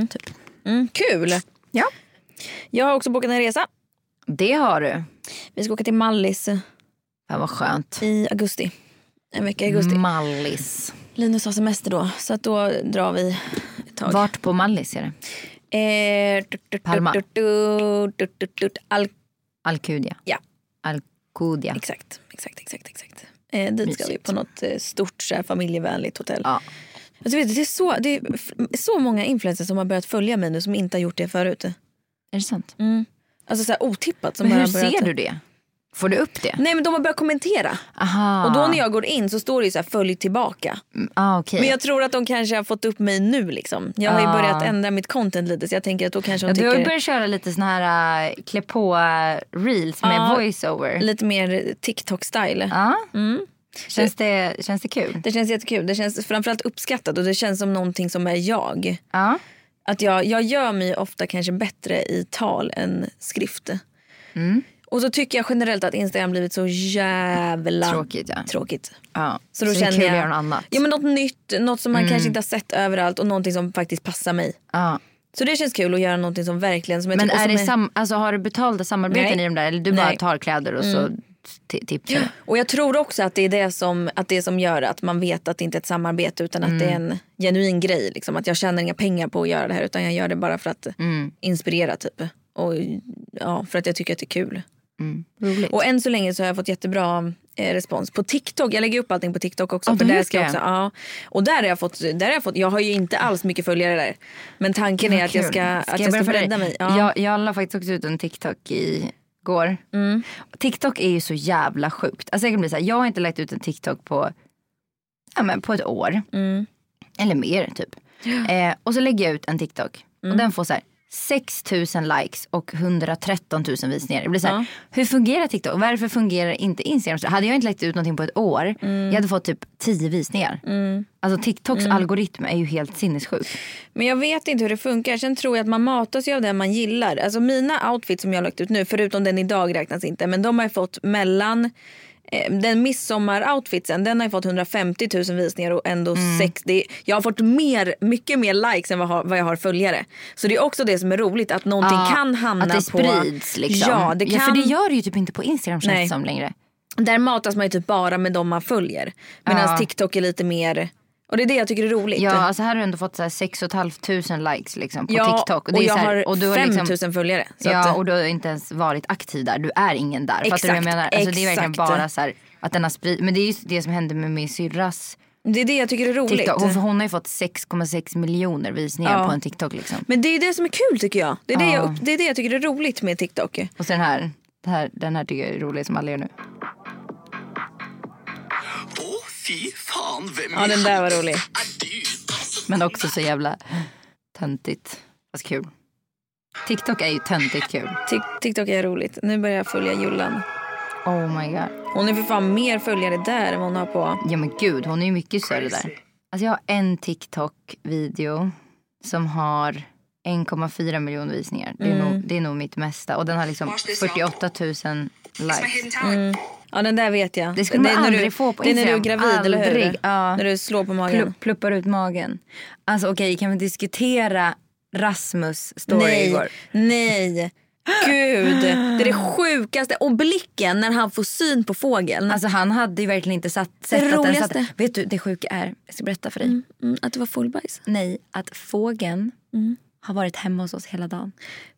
Speaker 2: Typ.
Speaker 1: Mm, kul.
Speaker 2: Ja.
Speaker 1: Jag har också bokat en resa.
Speaker 2: Det har du.
Speaker 1: Vi ska åka till Mallis
Speaker 2: Fan vad skönt.
Speaker 1: i augusti. En vecka i augusti.
Speaker 2: Mm. Mallis.
Speaker 1: Linus har semester då så att då drar vi ett tag.
Speaker 2: Vart på Mallis är det?
Speaker 1: Eh, tut, tut,
Speaker 2: Palma.
Speaker 1: tut, tut, tut, tut, tut. Al-
Speaker 2: Alcudia.
Speaker 1: Ja.
Speaker 2: Alcudia.
Speaker 1: exakt, exakt, exakt, exakt. Eh, dit ska vi
Speaker 2: Mysigt.
Speaker 1: på något eh, stort så här, familjevänligt hotell.
Speaker 2: Ja.
Speaker 1: Alltså, vet du, det, är så, det är f- så många influencers som har börjat följa mig nu som inte har gjort det förut.
Speaker 2: Är det sant?
Speaker 1: Alltså så här otippat. Som
Speaker 2: Men
Speaker 1: bara
Speaker 2: hur
Speaker 1: har börjat... typ-
Speaker 2: ser du det? Får du upp det?
Speaker 1: Nej men de har börjat kommentera.
Speaker 2: Aha.
Speaker 1: Och då när jag går in så står det ju så här följ tillbaka.
Speaker 2: ah, okej.
Speaker 1: Men jag tror att de kanske har fått upp mig nu liksom. Jag har ju
Speaker 2: Ah.
Speaker 1: börjat ändra mitt content lite så jag tänker att då kanske de
Speaker 2: Ja, Du har ju
Speaker 1: tycker
Speaker 2: börjat köra lite såna här äh, klä på äh, reels med
Speaker 1: Ja.
Speaker 2: voiceover.
Speaker 1: lite mer TikTok-style.
Speaker 2: Ja.
Speaker 1: Mm.
Speaker 2: Känns, det, känns det kul?
Speaker 1: Det känns jättekul. Det känns framförallt uppskattat och det känns som någonting som är jag.
Speaker 2: Ja.
Speaker 1: Att jag, jag gör mig ofta kanske bättre i tal än skrift.
Speaker 2: Mm.
Speaker 1: Och så tycker jag generellt att Instagram blivit så jävla
Speaker 2: Tråkigt, ja.
Speaker 1: tråkigt.
Speaker 2: ja.
Speaker 1: Så då
Speaker 2: det är
Speaker 1: känner
Speaker 2: kul
Speaker 1: jag
Speaker 2: att göra något annat. Mm.
Speaker 1: Ja, men något nytt, något som man kanske inte har sett överallt och någonting som faktiskt passar mig.
Speaker 2: ja. Så
Speaker 1: Så det känns kul att göra någonting som verkligen som jag
Speaker 2: Men
Speaker 1: tycker- och
Speaker 2: är det
Speaker 1: som
Speaker 2: sam- alltså, har du betalda samarbeten
Speaker 1: Nej.
Speaker 2: i de där? Eller du
Speaker 1: Nej. Mm.
Speaker 2: bara tar kläder och så t- tipsar du?
Speaker 1: Och jag tror också att det är det som, att det som gör att man vet att det inte är ett samarbete utan att det
Speaker 2: Mm.
Speaker 1: är en genuin grej. Liksom. Att jag tjänar inga pengar på att göra det här utan jag gör det bara för att
Speaker 2: Mm.
Speaker 1: inspirera typ. Och ja, för att jag tycker att det är kul.
Speaker 2: Roligt.
Speaker 1: Och än så länge så har jag fått jättebra eh, respons på TikTok. Jag lägger upp allting på TikTok också.
Speaker 2: Ja,
Speaker 1: för
Speaker 2: du
Speaker 1: där
Speaker 2: har
Speaker 1: ska jag
Speaker 2: gjort
Speaker 1: också,
Speaker 2: det?
Speaker 1: ja. Och där har jag fått, där har jag fått, jag har ju inte alls mycket följare där. Men tanken är att jag ska, att jag ska
Speaker 2: börja följa
Speaker 1: bredda
Speaker 2: dig?
Speaker 1: mig. Ja.
Speaker 2: Jag, jag la faktiskt också ut en TikTok igår.
Speaker 1: Mm.
Speaker 2: TikTok är ju så jävla sjukt. Alltså jag kan bli så här, jag har inte lagt ut en TikTok på, ja, men på ett år.
Speaker 1: Mm.
Speaker 2: Eller mer typ. Eh, och så lägger jag ut en TikTok.
Speaker 1: Mm.
Speaker 2: Och den får så här 6 000 likes och 113 000 visningar. Det blir så här, Hur fungerar TikTok? Varför fungerar inte Instagram? Så hade jag inte lagt ut någonting på ett år,
Speaker 1: Mm.
Speaker 2: jag hade fått typ 10 visningar. Alltså TikToks algoritm är ju helt sinnessjuk.
Speaker 1: Men jag vet inte hur det funkar. Sen tror jag att man matas ju av det man gillar. Alltså mina outfits som jag har lagt ut nu, förutom den idag räknas inte, men de har ju fått mellan eh, den midsommar-outfitsen den har ju fått 150 000 visningar och ändå 60. Jag har fått mer, mycket mer likes än vad, jag har- vad jag har följare. Så det är också det som är roligt att någonting
Speaker 2: Ja,
Speaker 1: kan hamna
Speaker 2: Att det sprids
Speaker 1: på...
Speaker 2: liksom.
Speaker 1: Ja, det kan...
Speaker 2: för det gör det ju typ inte på Instagram känns
Speaker 1: Nej.
Speaker 2: det som längre.
Speaker 1: Där matas man ju typ bara med de man följer. Medan
Speaker 2: Ja.
Speaker 1: TikTok är lite mer... Och det är det jag tycker är roligt.
Speaker 6: Ja, alltså här har du ändå fått så här 6 500 likes liksom på
Speaker 1: Ja,
Speaker 6: TikTok.
Speaker 1: Och,
Speaker 6: det är
Speaker 1: jag
Speaker 6: så här-
Speaker 1: har
Speaker 6: och du har
Speaker 1: 5 000
Speaker 6: liksom-
Speaker 1: följare. Så
Speaker 6: Ja
Speaker 1: att,
Speaker 6: och du har ju inte ens varit aktiv där. Du är ingen där. Fattar du vad jag
Speaker 1: Exakt,
Speaker 6: menar? Alltså, det är verkligen
Speaker 1: exakt.
Speaker 6: bara så här att den har sprid... Men det är ju det som hände med min syrras
Speaker 1: det är det jag tycker är roligt.
Speaker 6: TikTok. Hon, för hon har ju fått 6,6 miljoner visningar på en TikTok liksom.
Speaker 1: Men det är det som är kul tycker jag. Det är, det,
Speaker 6: Ja.
Speaker 1: jag, upp- det, är det jag tycker är roligt med TikTok.
Speaker 6: Och sen här, det här, den här tycker jag är rolig som alla gör nu.
Speaker 7: Åh, fy fan, vem
Speaker 1: Ja, den där var rolig.
Speaker 7: är du?
Speaker 6: Men också så jävla töntigt. Fast kul. TikTok är ju töntigt kul.
Speaker 1: Tik- TikTok är roligt. Nu börjar jag följa Jullan.
Speaker 6: Oh my god.
Speaker 1: Hon är för fan mer följare där än vad hon har på...
Speaker 6: Ja men gud, hon är ju mycket större där. Alltså jag har en TikTok-video som har 1,4 miljoner visningar. Det är,
Speaker 2: Mm.
Speaker 6: nog, det är nog mitt mesta. Och den har liksom 48 000 likes.
Speaker 1: Ja den där vet jag.
Speaker 6: Det skulle man
Speaker 1: är när
Speaker 6: aldrig
Speaker 1: du,
Speaker 6: få på
Speaker 1: Det är när du är
Speaker 6: Instagram.
Speaker 1: gravid eller hur?
Speaker 6: Aldrig, ja.
Speaker 1: När du slår på magen.
Speaker 6: Plu- pluppar ut magen.
Speaker 2: Alltså okej, kan vi diskutera Rasmus story
Speaker 1: Nej,
Speaker 2: igår?
Speaker 1: nej. Gud, det är det sjukaste. Och blicken när han får syn på fågeln.
Speaker 2: Alltså han hade ju verkligen inte satt, sett att den satt.
Speaker 1: roligaste.
Speaker 2: Vet du det sjuka är, jag ska berätta för dig.
Speaker 6: Alltså-
Speaker 1: Mm, att det var fullbajs.
Speaker 2: Nej, att fågeln
Speaker 6: Mm.
Speaker 2: har varit hemma hos oss hela dagen.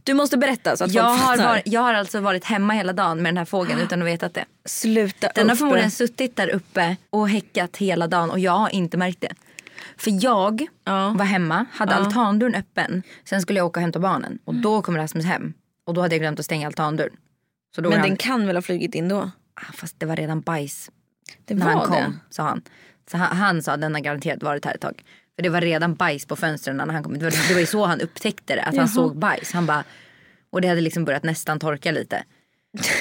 Speaker 1: Du måste berätta så att
Speaker 2: Jag
Speaker 1: folk
Speaker 2: har,
Speaker 1: fattar.
Speaker 2: var, jag har alltså varit hemma hela dagen med den här fågeln utan att veta det.
Speaker 1: Sluta
Speaker 2: Den har
Speaker 1: upp.
Speaker 2: förmodligen suttit där uppe och häckat hela dagen och jag har inte märkt det. För jag
Speaker 1: Ja. Mm.
Speaker 2: var hemma, hade altandörren öppen. Sen skulle jag åka och hämta barnen och då kom Rasmus hem. Och då hade jag glömt att stänga altandörren. Så då
Speaker 1: Men
Speaker 2: var
Speaker 1: den
Speaker 2: han,
Speaker 1: kan väl ha flugit in då?
Speaker 2: ah, fast det var redan bajs
Speaker 1: Det
Speaker 2: när
Speaker 1: var
Speaker 2: han kom,
Speaker 1: det.
Speaker 2: sa han. Så han, han sa att den har garanterat varit här ett tag. För det var redan bajs på fönstren när han kom. Det var, det var ju så han upptäckte det, att han såg bajs. Han bara, och det hade liksom börjat nästan torka lite.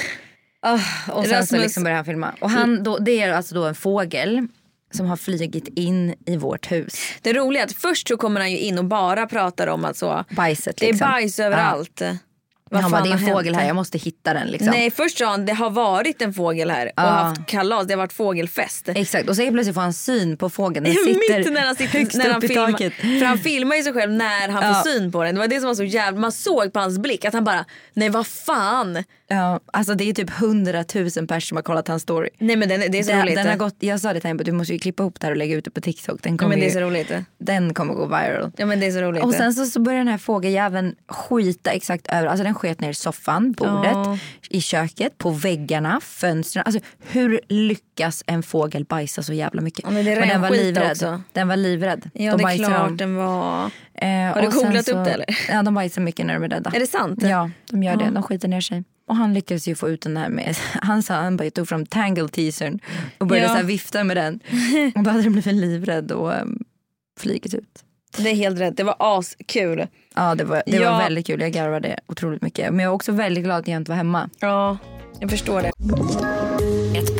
Speaker 2: Ah, och sen så
Speaker 1: Rasmus- Mm.
Speaker 2: liksom började han filma. Och han, då, det är alltså då en fågel som har flygit in i vårt hus.
Speaker 1: Det roliga är att först så kommer han ju in och bara pratar om att så,
Speaker 2: Bajset
Speaker 1: det är
Speaker 2: liksom.
Speaker 1: bajs överallt. Vad
Speaker 2: han bara,
Speaker 1: fan
Speaker 2: det är
Speaker 1: har
Speaker 2: en fågel
Speaker 1: hänt?
Speaker 2: här, jag måste hitta den liksom.
Speaker 1: Nej först sa han det har varit en fågel här och haft kalas, det har varit fågelfest.
Speaker 2: Exakt, och så helt plötsligt får han syn på fågeln. Den sitter
Speaker 1: Mitt när han
Speaker 2: högst
Speaker 1: sitter när han
Speaker 2: upp i
Speaker 1: filmar.
Speaker 2: taket.
Speaker 1: För han filmar ju sig själv när han får syn på den. Det var det som var så jävla, man såg på hans blick att han bara nej vad fan.
Speaker 2: Ja, alltså det är typ hundratusen personer som har kollat hans story.
Speaker 1: Nej men den, är- det är så
Speaker 2: Den,
Speaker 1: roligt.
Speaker 2: den har gått, jag sa det till henne, du måste ju klippa ihop det här och lägga ut det på TikTok. Den
Speaker 1: ja,
Speaker 2: kommer,
Speaker 1: men det är
Speaker 2: ju,
Speaker 1: så roligt.
Speaker 2: den kommer gå viral.
Speaker 1: Ja men det är så roligt.
Speaker 2: Och sen så, så börjar den här fågeljäveln skita exakt över. Alltså den sket ner i soffan, bordet, i köket, på väggarna, fönstren. Alltså hur lyckas en fågel bajsa så jävla mycket?
Speaker 1: men det
Speaker 2: den var
Speaker 1: renskit
Speaker 2: livrädd.
Speaker 1: också.
Speaker 2: Den var livrädd.
Speaker 1: ja
Speaker 2: de
Speaker 1: det är
Speaker 2: bajsar
Speaker 1: klart
Speaker 2: om.
Speaker 1: den var.
Speaker 2: Eh,
Speaker 1: Har du
Speaker 2: och sen
Speaker 1: googlat
Speaker 2: så-
Speaker 1: upp det, eller?
Speaker 2: Ja, de bajsar mycket när de är rädda.
Speaker 1: Är det sant?
Speaker 2: Ja, de gör det. De skiter ner sig. Och han lyckades ju få ut den här med, han sa han bara jag tog fram tangle-teasern och började
Speaker 1: Ja.
Speaker 2: så här vifta med den. Och då hade den blivit livrädd och um, flugit ut.
Speaker 1: Det är helt rätt, det var askul.
Speaker 2: Ja det, var, det
Speaker 1: Ja.
Speaker 2: var väldigt kul, jag garvade otroligt mycket. Men jag var också väldigt glad att jag inte var hemma.
Speaker 1: Ja jag förstår det.
Speaker 3: Ett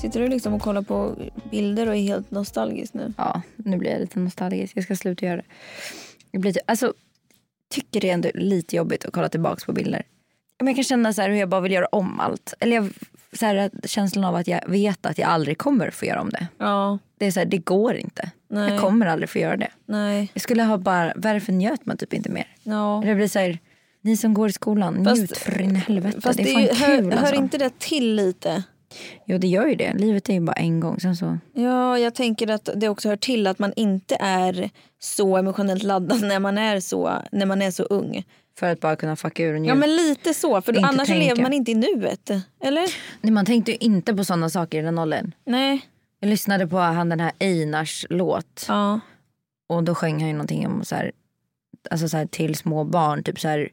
Speaker 1: Sitter du liksom och kollar på bilder och är helt nostalgisk nu?
Speaker 2: Ja, nu blir jag lite nostalgisk. Jag ska sluta göra det. Jag blir, alltså, tycker det är ändå lite jobbigt att kolla tillbaka på bilder. Men jag kan känna så här hur jag bara vill göra om allt. Eller jag, så här, att- känslan av att jag vet att jag aldrig kommer få göra om det.
Speaker 1: Ja,
Speaker 2: Det är så här, det går inte.
Speaker 1: Nej.
Speaker 2: Jag kommer aldrig få göra det.
Speaker 1: nej,
Speaker 2: Jag skulle ha bara, varför njöt man typ inte mer?
Speaker 1: ja.
Speaker 2: Det blir så här, ni som går i skolan,
Speaker 1: Fast-
Speaker 2: njut för in i helvete.
Speaker 1: Fast
Speaker 2: det
Speaker 1: det
Speaker 2: är fan
Speaker 1: är ju,
Speaker 2: kul
Speaker 1: hör, hör
Speaker 2: alltså.
Speaker 1: inte det till lite?
Speaker 2: Jo det gör ju det, livet är ju bara en gång. Sen så,
Speaker 1: Ja, jag tänker att det också hör till att man inte är så emotionellt laddad när man är så, när man är så ung.
Speaker 2: för att bara kunna fucka ur och
Speaker 1: Ja,
Speaker 2: njuta.
Speaker 1: men lite så. För
Speaker 2: Inte
Speaker 1: annars så
Speaker 2: tänka.
Speaker 1: lever man inte i nuet. Eller?
Speaker 2: Nej, man tänkte ju inte på sådana saker i den åldern.
Speaker 1: Nej.
Speaker 2: Jag lyssnade på han den här Einars låt
Speaker 1: Ja.
Speaker 2: och då sjöng han ju någonting om så här, alltså så här till små barn. Typ så här,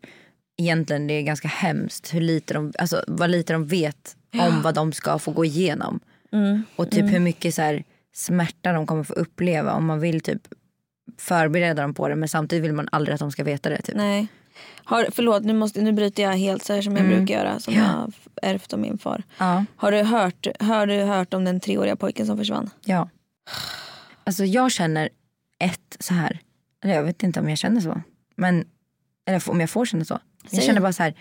Speaker 2: egentligen det är ganska hemskt hur lite de, alltså, vad lite de vet om vad de ska få gå igenom. Och typ hur mycket så här, smärta de kommer få uppleva om man vill typ förbereda dem på det men samtidigt vill man aldrig att de ska veta det. Typ.
Speaker 1: Nej. Har, förlåt, nu, måste, nu bryter jag helt så här som jag
Speaker 2: Mm.
Speaker 1: brukar göra. Som jag har ärvt av min far.
Speaker 2: Ja.
Speaker 1: Har, du hört, har du hört om den treåriga pojken som försvann?
Speaker 2: Ja. Alltså jag känner ett så här, eller jag vet inte om jag känner så. Men, eller om jag får känna så. Jag känner bara så här,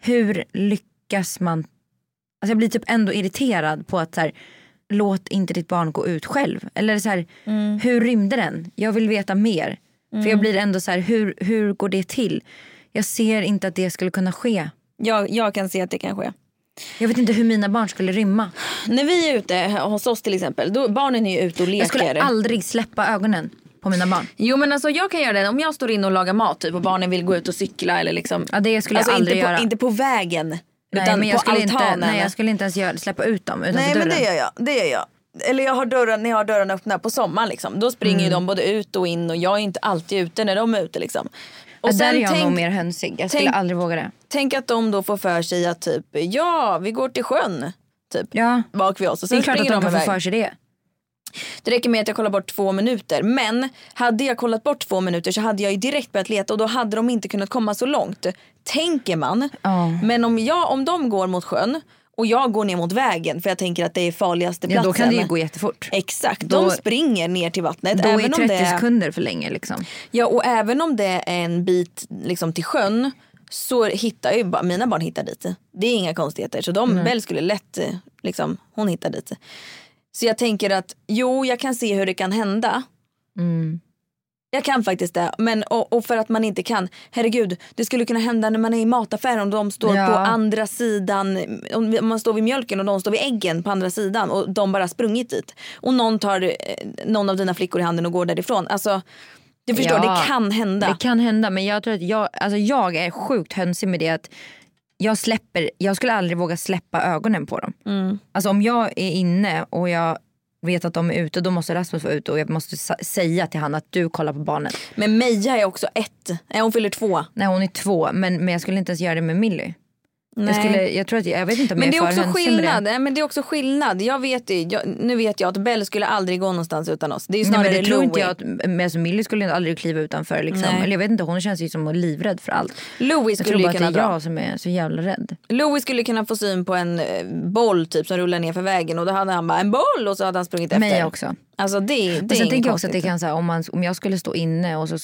Speaker 2: hur lyckas man? Alltså jag blir typ ändå irriterad på att så här, låt inte ditt barn gå ut själv. Eller så här, hur rymde den? Jag vill veta mer. För jag blir ändå så här, hur, hur går det till? Jag ser inte att det skulle kunna ske.
Speaker 1: Jag, jag kan se att det kan ske.
Speaker 2: Jag vet inte hur mina barn skulle rymma.
Speaker 1: När vi är ute hos oss till exempel, då, barnen är ju ute och leker.
Speaker 2: Jag skulle aldrig släppa ögonen på mina barn.
Speaker 1: Jo men alltså jag kan göra det om jag står inne och lagar mat typ och barnen vill gå ut och cykla eller liksom.
Speaker 2: Ja, det skulle jag
Speaker 1: alltså
Speaker 2: aldrig
Speaker 1: inte på,
Speaker 2: göra.
Speaker 1: inte på vägen.
Speaker 2: Nej,
Speaker 1: utan
Speaker 2: men jag
Speaker 1: på
Speaker 2: skulle
Speaker 1: altanen.
Speaker 2: inte, nej, jag skulle inte ens göra, släppa ut dem utanför
Speaker 1: Nej,
Speaker 2: dörren.
Speaker 1: men det gör jag. Det gör jag. Eller jag har dörren, när jag har dörren öppna på sommaren liksom. Då springer
Speaker 2: Mm.
Speaker 1: ju de både ut och in och jag är inte alltid ute när de är ute liksom. Och
Speaker 2: Och där är
Speaker 1: sen
Speaker 2: jag nog
Speaker 1: tänk,
Speaker 2: mer hönsig. Jag skulle
Speaker 1: tänk-
Speaker 2: aldrig våga det.
Speaker 1: tänk att de då får för sig att typ, ja vi går till sjön. Typ.
Speaker 2: Ja.
Speaker 1: Bak vid oss och
Speaker 2: Det är
Speaker 1: sen
Speaker 2: klart att
Speaker 1: springer
Speaker 2: de
Speaker 1: de
Speaker 2: kan få
Speaker 1: iväg.
Speaker 2: för sig det.
Speaker 1: Det räcker med att jag kollar bort två minuter. Men hade jag kollat bort två minuter så hade jag ju direkt börjat leta och då hade de inte kunnat komma så långt. Tänker man. Men om, jag, om de går mot sjön och jag går ner mot vägen för jag tänker att det är farligaste
Speaker 2: Ja,
Speaker 1: platsen.
Speaker 2: då kan det ju gå jättefort.
Speaker 1: Exakt,
Speaker 2: Då-
Speaker 1: de springer ner till vattnet.
Speaker 2: Då är
Speaker 1: även
Speaker 2: 30
Speaker 1: om det är,
Speaker 2: sekunder för länge liksom.
Speaker 1: ja, och även om det är en bit liksom, till sjön så hittar ju ba- mina barn hittar dit. Det är inga konstigheter. Så de, Bell skulle lätt, eh, liksom, hon hittar dit. Så jag tänker att jo, jag kan se hur det kan hända. Jag kan faktiskt det. Men, och, och för att man inte kan. Herregud, det skulle kunna hända när man är i mataffären om de står
Speaker 2: Ja.
Speaker 1: på andra sidan. Om vi- om man står vid mjölken och de står vid äggen på andra sidan och de bara sprungit dit. Och någon tar eh, någon av dina flickor i handen och går därifrån. Alltså, du förstår,
Speaker 2: Ja.
Speaker 1: det kan hända.
Speaker 2: Det kan hända men jag tror att jag, alltså jag är sjukt hönsig med det att jag, släpper, jag skulle aldrig våga släppa ögonen på dem.
Speaker 1: Mm.
Speaker 2: Alltså om jag är inne och jag vet att de är ute då måste Rasmus vara ute och jag måste sa- säga till han att du kollar på barnet.
Speaker 1: Men Meja är också ett. Nej, hon fyller två.
Speaker 2: Nej hon är två men, men jag skulle inte ens göra det med Milly. Jag, skulle, jag, tror att, jag vet inte om
Speaker 1: Men
Speaker 2: jag
Speaker 1: det, är
Speaker 2: för
Speaker 1: också
Speaker 2: hönsig med
Speaker 1: skillnad. Nej, men det är också skillnad. Jag vet ju, jag, nu vet jag att Bell skulle aldrig gå någonstans utan oss. Det är ju
Speaker 2: Nej,
Speaker 1: snarare
Speaker 2: men det tror inte
Speaker 1: Louie.
Speaker 2: jag att, men alltså Millie skulle ju aldrig kliva utanför liksom.
Speaker 1: Nej.
Speaker 2: Eller jag vet inte, hon känns ju som livrädd för allt.
Speaker 1: Louie
Speaker 2: Jag
Speaker 1: skulle
Speaker 2: tror
Speaker 1: ju
Speaker 2: bara att det
Speaker 1: kunna
Speaker 2: är
Speaker 1: dra.
Speaker 2: jag som är så jävla rädd.
Speaker 1: Louis skulle kunna få syn på en eh, boll typ som rullar ner för vägen och då hade han bara en boll och så hade han sprungit efter.
Speaker 2: Mig också.
Speaker 1: Alltså det, det
Speaker 2: Men
Speaker 1: är
Speaker 2: sen
Speaker 1: inget
Speaker 2: tänker jag också att det
Speaker 1: konstigt.
Speaker 2: kan, så här, om, man, om jag skulle stå inne och så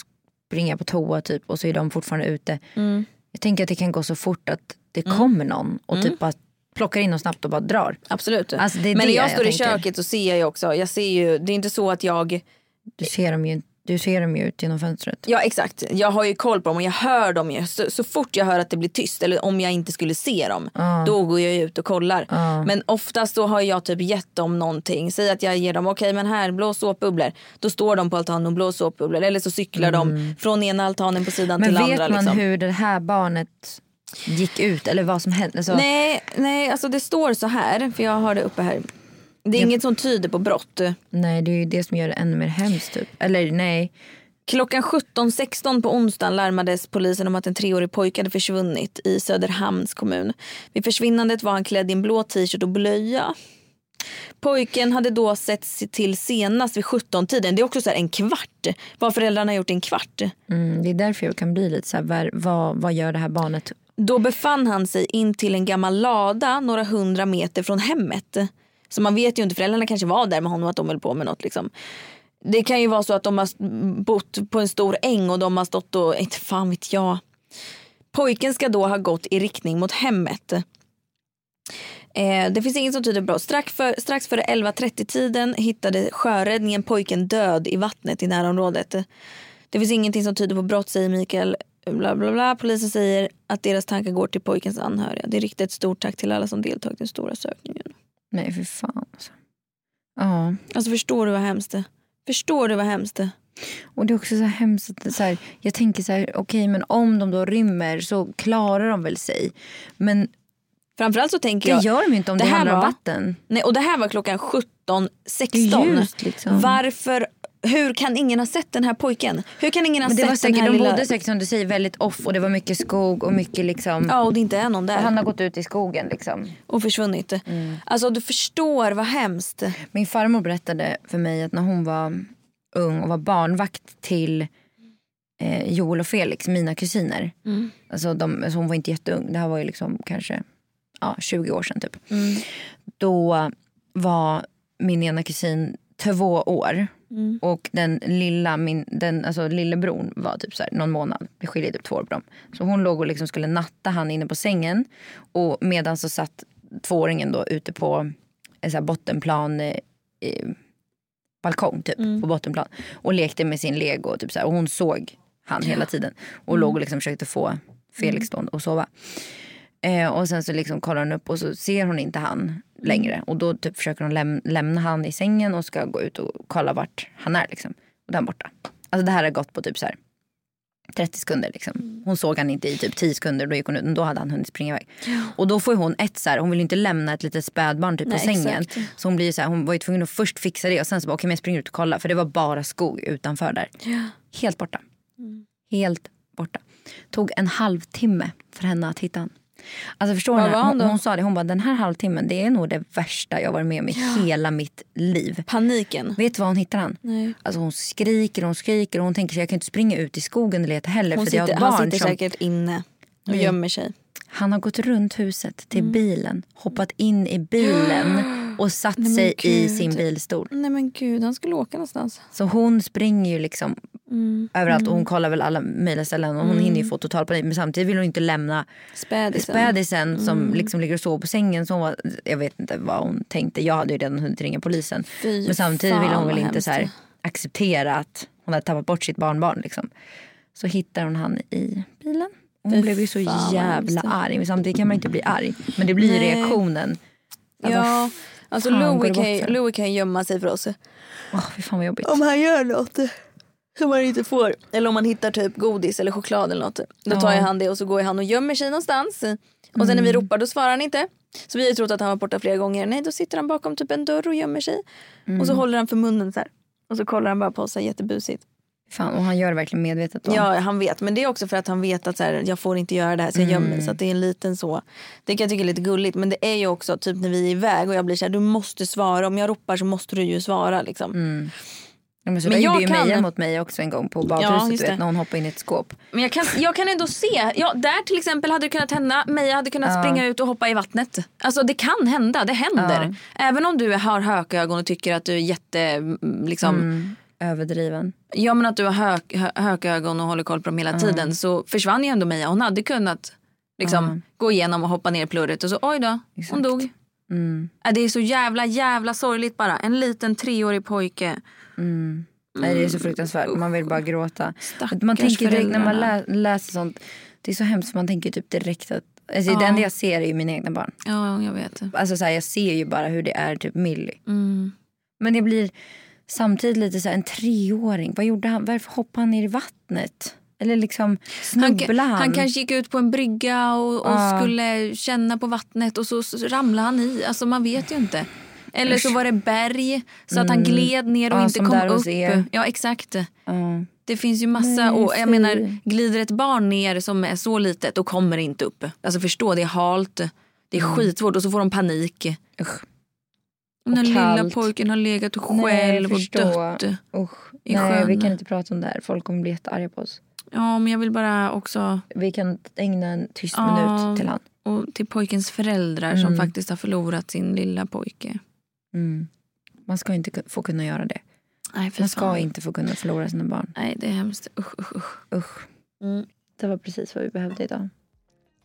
Speaker 2: springa på toa typ och så är de fortfarande ute.
Speaker 1: Mm.
Speaker 2: Jag tänker att det kan gå så fort att det kommer någon och
Speaker 1: Mm.
Speaker 2: typ bara plockar in dem snabbt och bara drar.
Speaker 1: Absolut.
Speaker 2: Alltså, det är
Speaker 1: Men
Speaker 2: det
Speaker 1: när jag,
Speaker 2: jag
Speaker 1: står i
Speaker 2: tänker.
Speaker 1: köket så ser jag ju också, jag ser ju, det är inte så att jag,
Speaker 2: Du ser dem ju, du ser dem ju ut genom fönstret.
Speaker 1: ja exakt, jag har ju koll på dem och jag hör dem ju. Så, så fort jag hör att det blir tyst eller om jag inte skulle se dem, då går jag ju ut och kollar. Men oftast då har jag typ gett dem någonting, säg att jag ger dem, okej men här, blå såpbubblor. Då står de på altanen och blå såpbubblor eller så cyklar de från ena altanen på sidan
Speaker 2: Mm. Men
Speaker 1: till
Speaker 2: vet
Speaker 1: andra.
Speaker 2: man
Speaker 1: liksom.
Speaker 2: hur det här barnet gick ut eller vad som hände? Alltså- Så,
Speaker 1: Nej, nej, alltså det står så här, för jag har det uppe här. Det är inget som tyder på brott.
Speaker 2: nej, det är ju det som gör det ännu mer hemskt typ. Eller nej.
Speaker 1: Klockan 17.16 på onsdagen larmades polisen om att en treårig pojke hade försvunnit i Söderhamns kommun. Vid försvinnandet var han klädd i en blå t-shirt och blöja. Pojken hade då sett sig till senast vid 17-tiden. Det är också så här en kvart. Vad föräldrarna har gjort i en kvart.
Speaker 2: Mm, det är därför jag kan bli lite så här, var, vad, vad gör det här barnet?
Speaker 1: Då befann han sig in till en gammal lada några hundra meter från hemmet. Så man vet ju inte, föräldrarna kanske var där med honom att de höll på med något. Liksom. Det kan ju vara så att de har s- bott på en stor äng och de har stått och, inte fan vet jag. Pojken ska då ha gått i riktning mot hemmet. Eh, det finns inget som tyder på brott. Strax, för, strax före 11.30-tiden hittade sjöräddningen pojken död i vattnet i närområdet. Det finns ingenting som tyder på brott säger Mikael. Bla, bla, bla. Polisen säger att deras tankar går till pojkens anhöriga. Det riktar ett stort tack till alla som deltagit i den stora sökningen.
Speaker 2: Nej, för fan alltså. Ja.
Speaker 1: Alltså förstår du vad hemskt det är? Förstår du vad hemskt det är?
Speaker 2: Och det är också så här hemskt att det är så här, jag tänker så här, okej men om de då rymmer så klarar de väl sig. Men
Speaker 1: Framförallt så tänker
Speaker 2: det
Speaker 1: jag...
Speaker 2: gör de ju inte om
Speaker 1: det
Speaker 2: det,
Speaker 1: här
Speaker 2: handlar om
Speaker 1: var-
Speaker 2: vatten.
Speaker 1: Nej, och det här var klockan 17.16.
Speaker 2: Ljust, liksom.
Speaker 1: Varför... Hur kan ingen ha sett den här pojken? Hur kan ingen ha
Speaker 2: Men det
Speaker 1: sett
Speaker 2: var
Speaker 1: den
Speaker 2: säkert,
Speaker 1: här
Speaker 2: de
Speaker 1: lilla...
Speaker 2: bodde säkert som du säger väldigt off och det var mycket skog och mycket liksom.
Speaker 1: Ja, och det inte är någon där.
Speaker 2: Han Mm. har gått ut i skogen liksom.
Speaker 1: Och försvunnit. Alltså du förstår vad hemskt.
Speaker 2: Min farmor berättade för mig att när hon var ung och var barnvakt till eh, Joel och Felix, mina kusiner. Alltså, de, alltså hon var inte jätteung, det här var ju liksom kanske ja, 20 år sedan typ. Då var min ena kusin två år Och den lilla, min, den, alltså lillebror var typ så här, någon månad. Det skiljer typ två år på dem. Så hon låg och liksom skulle natta han inne på sängen. Och medan så satt tvååringen då ute på en så här bottenplan eh, eh, balkong typ på bottenplan och lekte med sin lego och typ så här, och hon såg han hela tiden och låg och liksom försökte få Felix då att sova. Eh, och sen så liksom kollar hon upp och så ser hon inte han
Speaker 1: Mm.
Speaker 2: längre och då typ försöker hon läm- lämna han i sängen och ska gå ut och kolla vart han är liksom. Och där borta. Alltså det här har gått på typ så här 30 sekunder.
Speaker 1: Mm.
Speaker 2: Liksom. Hon såg han inte i typ 10 sekunder. Då gick hon ut, men då hade han hunnit springa iväg. Och då får ju hon ett så här, hon vill ju inte lämna ett litet spädbarn typ på
Speaker 1: Nej,
Speaker 2: sängen.
Speaker 1: exakt.
Speaker 2: Så hon, blir ju så här, hon var ju tvungen att först fixa det och sen så bara okej men jag springer ut och kollar. För det var bara skog utanför där. Helt borta.
Speaker 1: Mm.
Speaker 2: Helt borta. Tog en halvtimme för henne att hitta han. Alltså förstår
Speaker 1: Vad
Speaker 2: ni?
Speaker 1: var han
Speaker 2: Hon,
Speaker 1: då?
Speaker 2: hon sa det, hon bara den här halvtimmen det är nog det värsta jag varit med om i hela mitt liv.
Speaker 1: Paniken.
Speaker 2: Vet du vad hon hittar han?
Speaker 1: Nej.
Speaker 2: Alltså hon skriker och hon skriker och hon tänker sig jag kan inte springa ut i skogen och leta heller
Speaker 1: Hon
Speaker 2: för jag
Speaker 1: sitter,
Speaker 2: har barn
Speaker 1: han sitter
Speaker 2: som... Mm.
Speaker 1: säkert inne och gömmer sig.
Speaker 2: Han har gått runt huset
Speaker 1: Mm.
Speaker 2: till bilen, hoppat in i bilen och satt
Speaker 1: men
Speaker 2: sig i
Speaker 1: gud.
Speaker 2: sin bilstol.
Speaker 1: Nej men gud, han skulle åka någonstans.
Speaker 2: Så hon springer ju liksom
Speaker 1: Mm.
Speaker 2: överallt och hon kollar väl alla möjliga ställen och hon hinner ju få total panik men samtidigt vill hon inte lämna
Speaker 1: Spädisen. Mm.
Speaker 2: spädisen som liksom ligger och sover på sängen. Så hon var, jag vet inte vad hon tänkte, jag hade ju redan hunnit ringa polisen.
Speaker 1: Fy
Speaker 2: men samtidigt ville
Speaker 1: fan,
Speaker 2: hon väl
Speaker 1: vad
Speaker 2: inte
Speaker 1: hemskt.
Speaker 2: så här, acceptera att hon hade tappat bort sitt barnbarn. Liksom. Så hittar hon han i bilen. Hon
Speaker 1: Fy
Speaker 2: blev ju så
Speaker 1: fan, vad
Speaker 2: jävla
Speaker 1: hemskt.
Speaker 2: arg. Men samtidigt kan man inte bli arg. Men det blir ju
Speaker 1: Nej.
Speaker 2: reaktionen. Alltså,
Speaker 1: Ja, alltså
Speaker 2: fan, går
Speaker 1: Louie
Speaker 2: det
Speaker 1: kan,
Speaker 2: bort
Speaker 1: ju-
Speaker 2: sen?
Speaker 1: Louie kan ju gömma sig för oss.
Speaker 2: Åh, fy fan vad jobbigt.
Speaker 1: Om han gör något som han inte får. Eller om man hittar typ godis eller choklad eller något. Då tar
Speaker 2: Ja.
Speaker 1: ju han det och så går ju han och gömmer sig någonstans. Och sen när vi ropar då svarar han inte. Så vi har ju trott att han var borta flera gånger. Nej då sitter han bakom typ en dörr och gömmer sig. Och så håller han för munnen så här. Och så kollar han bara på oss så här jättebusigt.
Speaker 2: Fan, och han gör det verkligen medvetet då.
Speaker 1: Ja han vet men det är också för att han vet att så här, jag får inte göra det här så jag gömmer mig. Så att det är en liten så. Det kan jag tycka är lite gulligt men det är ju också typ när vi är iväg och jag blir så här du måste svara. Om jag ropar så måste du ju svara liksom.
Speaker 2: Ja, men så
Speaker 1: Men
Speaker 2: där
Speaker 1: jag
Speaker 2: gjorde ju
Speaker 1: kan-
Speaker 2: Meja mot mig också en gång på
Speaker 1: Ja,
Speaker 2: badhuset
Speaker 1: just
Speaker 2: du
Speaker 1: det.
Speaker 2: vet, när hon hoppade in i ett skåp.
Speaker 1: Men jag kan, jag kan ändå se. Ja, där till exempel hade det kunnat hända. Meja hade kunnat springa ut och hoppa i vattnet. Alltså det kan hända. Det händer. Även om du har hökögon och tycker att du är jätte... mm, Liksom,
Speaker 2: Överdriven.
Speaker 1: Ja men att du har hök, hö, hökögon och håller koll på dem
Speaker 2: Mm.
Speaker 1: hela tiden. Så försvann ju ändå Meja. Hon hade kunnat liksom,
Speaker 2: Mm.
Speaker 1: gå igenom och hoppa ner i plurret. Och så oj då, hon dog.
Speaker 2: Mm.
Speaker 1: Äh, Det är så jävla jävla sorgligt bara. En liten treårig pojke.
Speaker 2: Nej, det är så fruktansvärt. Man vill bara gråta.
Speaker 1: Mm. Stackars
Speaker 2: man tänker direkt när man
Speaker 1: föräldrarna.
Speaker 2: lä- läser sånt. Det är så hemskt. Man tänker typ direkt att... Alltså, Det enda jag ser är ju mina egna barn.
Speaker 1: Ja jag vet.
Speaker 2: Alltså, så här, jag ser ju bara hur det är typ Millie.
Speaker 1: Mm.
Speaker 2: Men det blir samtidigt lite så här, en treåring. Vad gjorde han? Varför hoppade han ner i vattnet? Eller liksom
Speaker 1: Han,
Speaker 2: snubblade han?
Speaker 1: han kanske gick ut på en brygga och, och
Speaker 2: Ja.
Speaker 1: skulle känna på vattnet och så, så ramlade han i. Alltså man vet ju inte. Eller så var det berg så att han gled ner och
Speaker 2: Mm. Ja,
Speaker 1: inte
Speaker 2: som
Speaker 1: kom
Speaker 2: där hos
Speaker 1: upp.
Speaker 2: er.
Speaker 1: Ja exakt.
Speaker 2: Ja.
Speaker 1: Det finns ju massa.
Speaker 2: Nej,
Speaker 1: och jag
Speaker 2: fy.
Speaker 1: menar glider ett barn ner som är så litet då kommer det inte upp. Alltså förstå det är halt. Det är skitsvårt och så får de panik.
Speaker 2: Usch.
Speaker 1: Den här lilla
Speaker 2: kallt.
Speaker 1: pojken har legat och
Speaker 2: Nej,
Speaker 1: själv
Speaker 2: jag
Speaker 1: och
Speaker 2: förstår.
Speaker 1: dött.
Speaker 2: Usch.
Speaker 1: i
Speaker 2: Nej, vi
Speaker 1: sjön.
Speaker 2: kan inte prata om det här. Folk kommer bli jättearga på oss.
Speaker 1: Ja men jag vill bara också
Speaker 2: Vi kan ägna en tyst
Speaker 1: Ja.
Speaker 2: minut till han.
Speaker 1: och till pojkens föräldrar som faktiskt har förlorat sin lilla pojke.
Speaker 2: Man ska inte få kunna göra det.
Speaker 1: Nej, fy
Speaker 2: Man ska
Speaker 1: fan.
Speaker 2: inte få kunna förlora sina barn.
Speaker 1: Nej, det är hemskt. Usch, usch, usch.
Speaker 2: Usch. Mm. Det var precis vad vi behövde idag.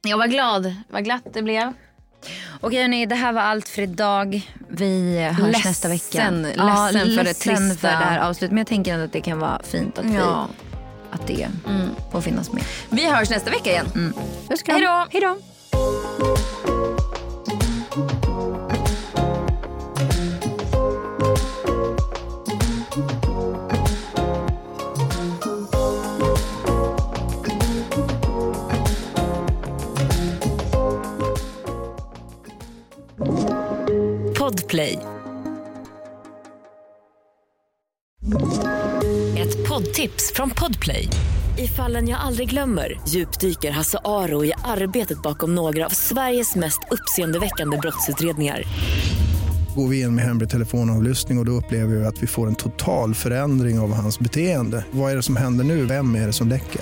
Speaker 1: Jag var glad. Vad glatt det blev.
Speaker 2: Okej hörni, det här var allt för idag. Vi hörs
Speaker 1: Ledsen.
Speaker 2: nästa vecka.
Speaker 1: Ledsen
Speaker 2: ja,
Speaker 1: för det
Speaker 2: ledsen
Speaker 1: trista.
Speaker 2: för det här avslutet. Men jag tänker ändå att det kan vara fint att,
Speaker 1: Ja.
Speaker 2: vi, att det får finnas med.
Speaker 1: Vi hörs nästa vecka igen.
Speaker 2: Mm. Puss
Speaker 1: Hej då!
Speaker 2: Hej då!
Speaker 3: Podplay. Ett poddtips från Podplay. I fallen jag aldrig glömmer djupdyker Hasse Aro i arbetet bakom några av Sveriges mest uppseendeväckande brottsutredningar.
Speaker 8: Går vi in med hemlig telefonavlyssning och, och då upplever vi att vi får en total förändring av hans beteende. Vad är det som händer nu? Vem är det som läcker?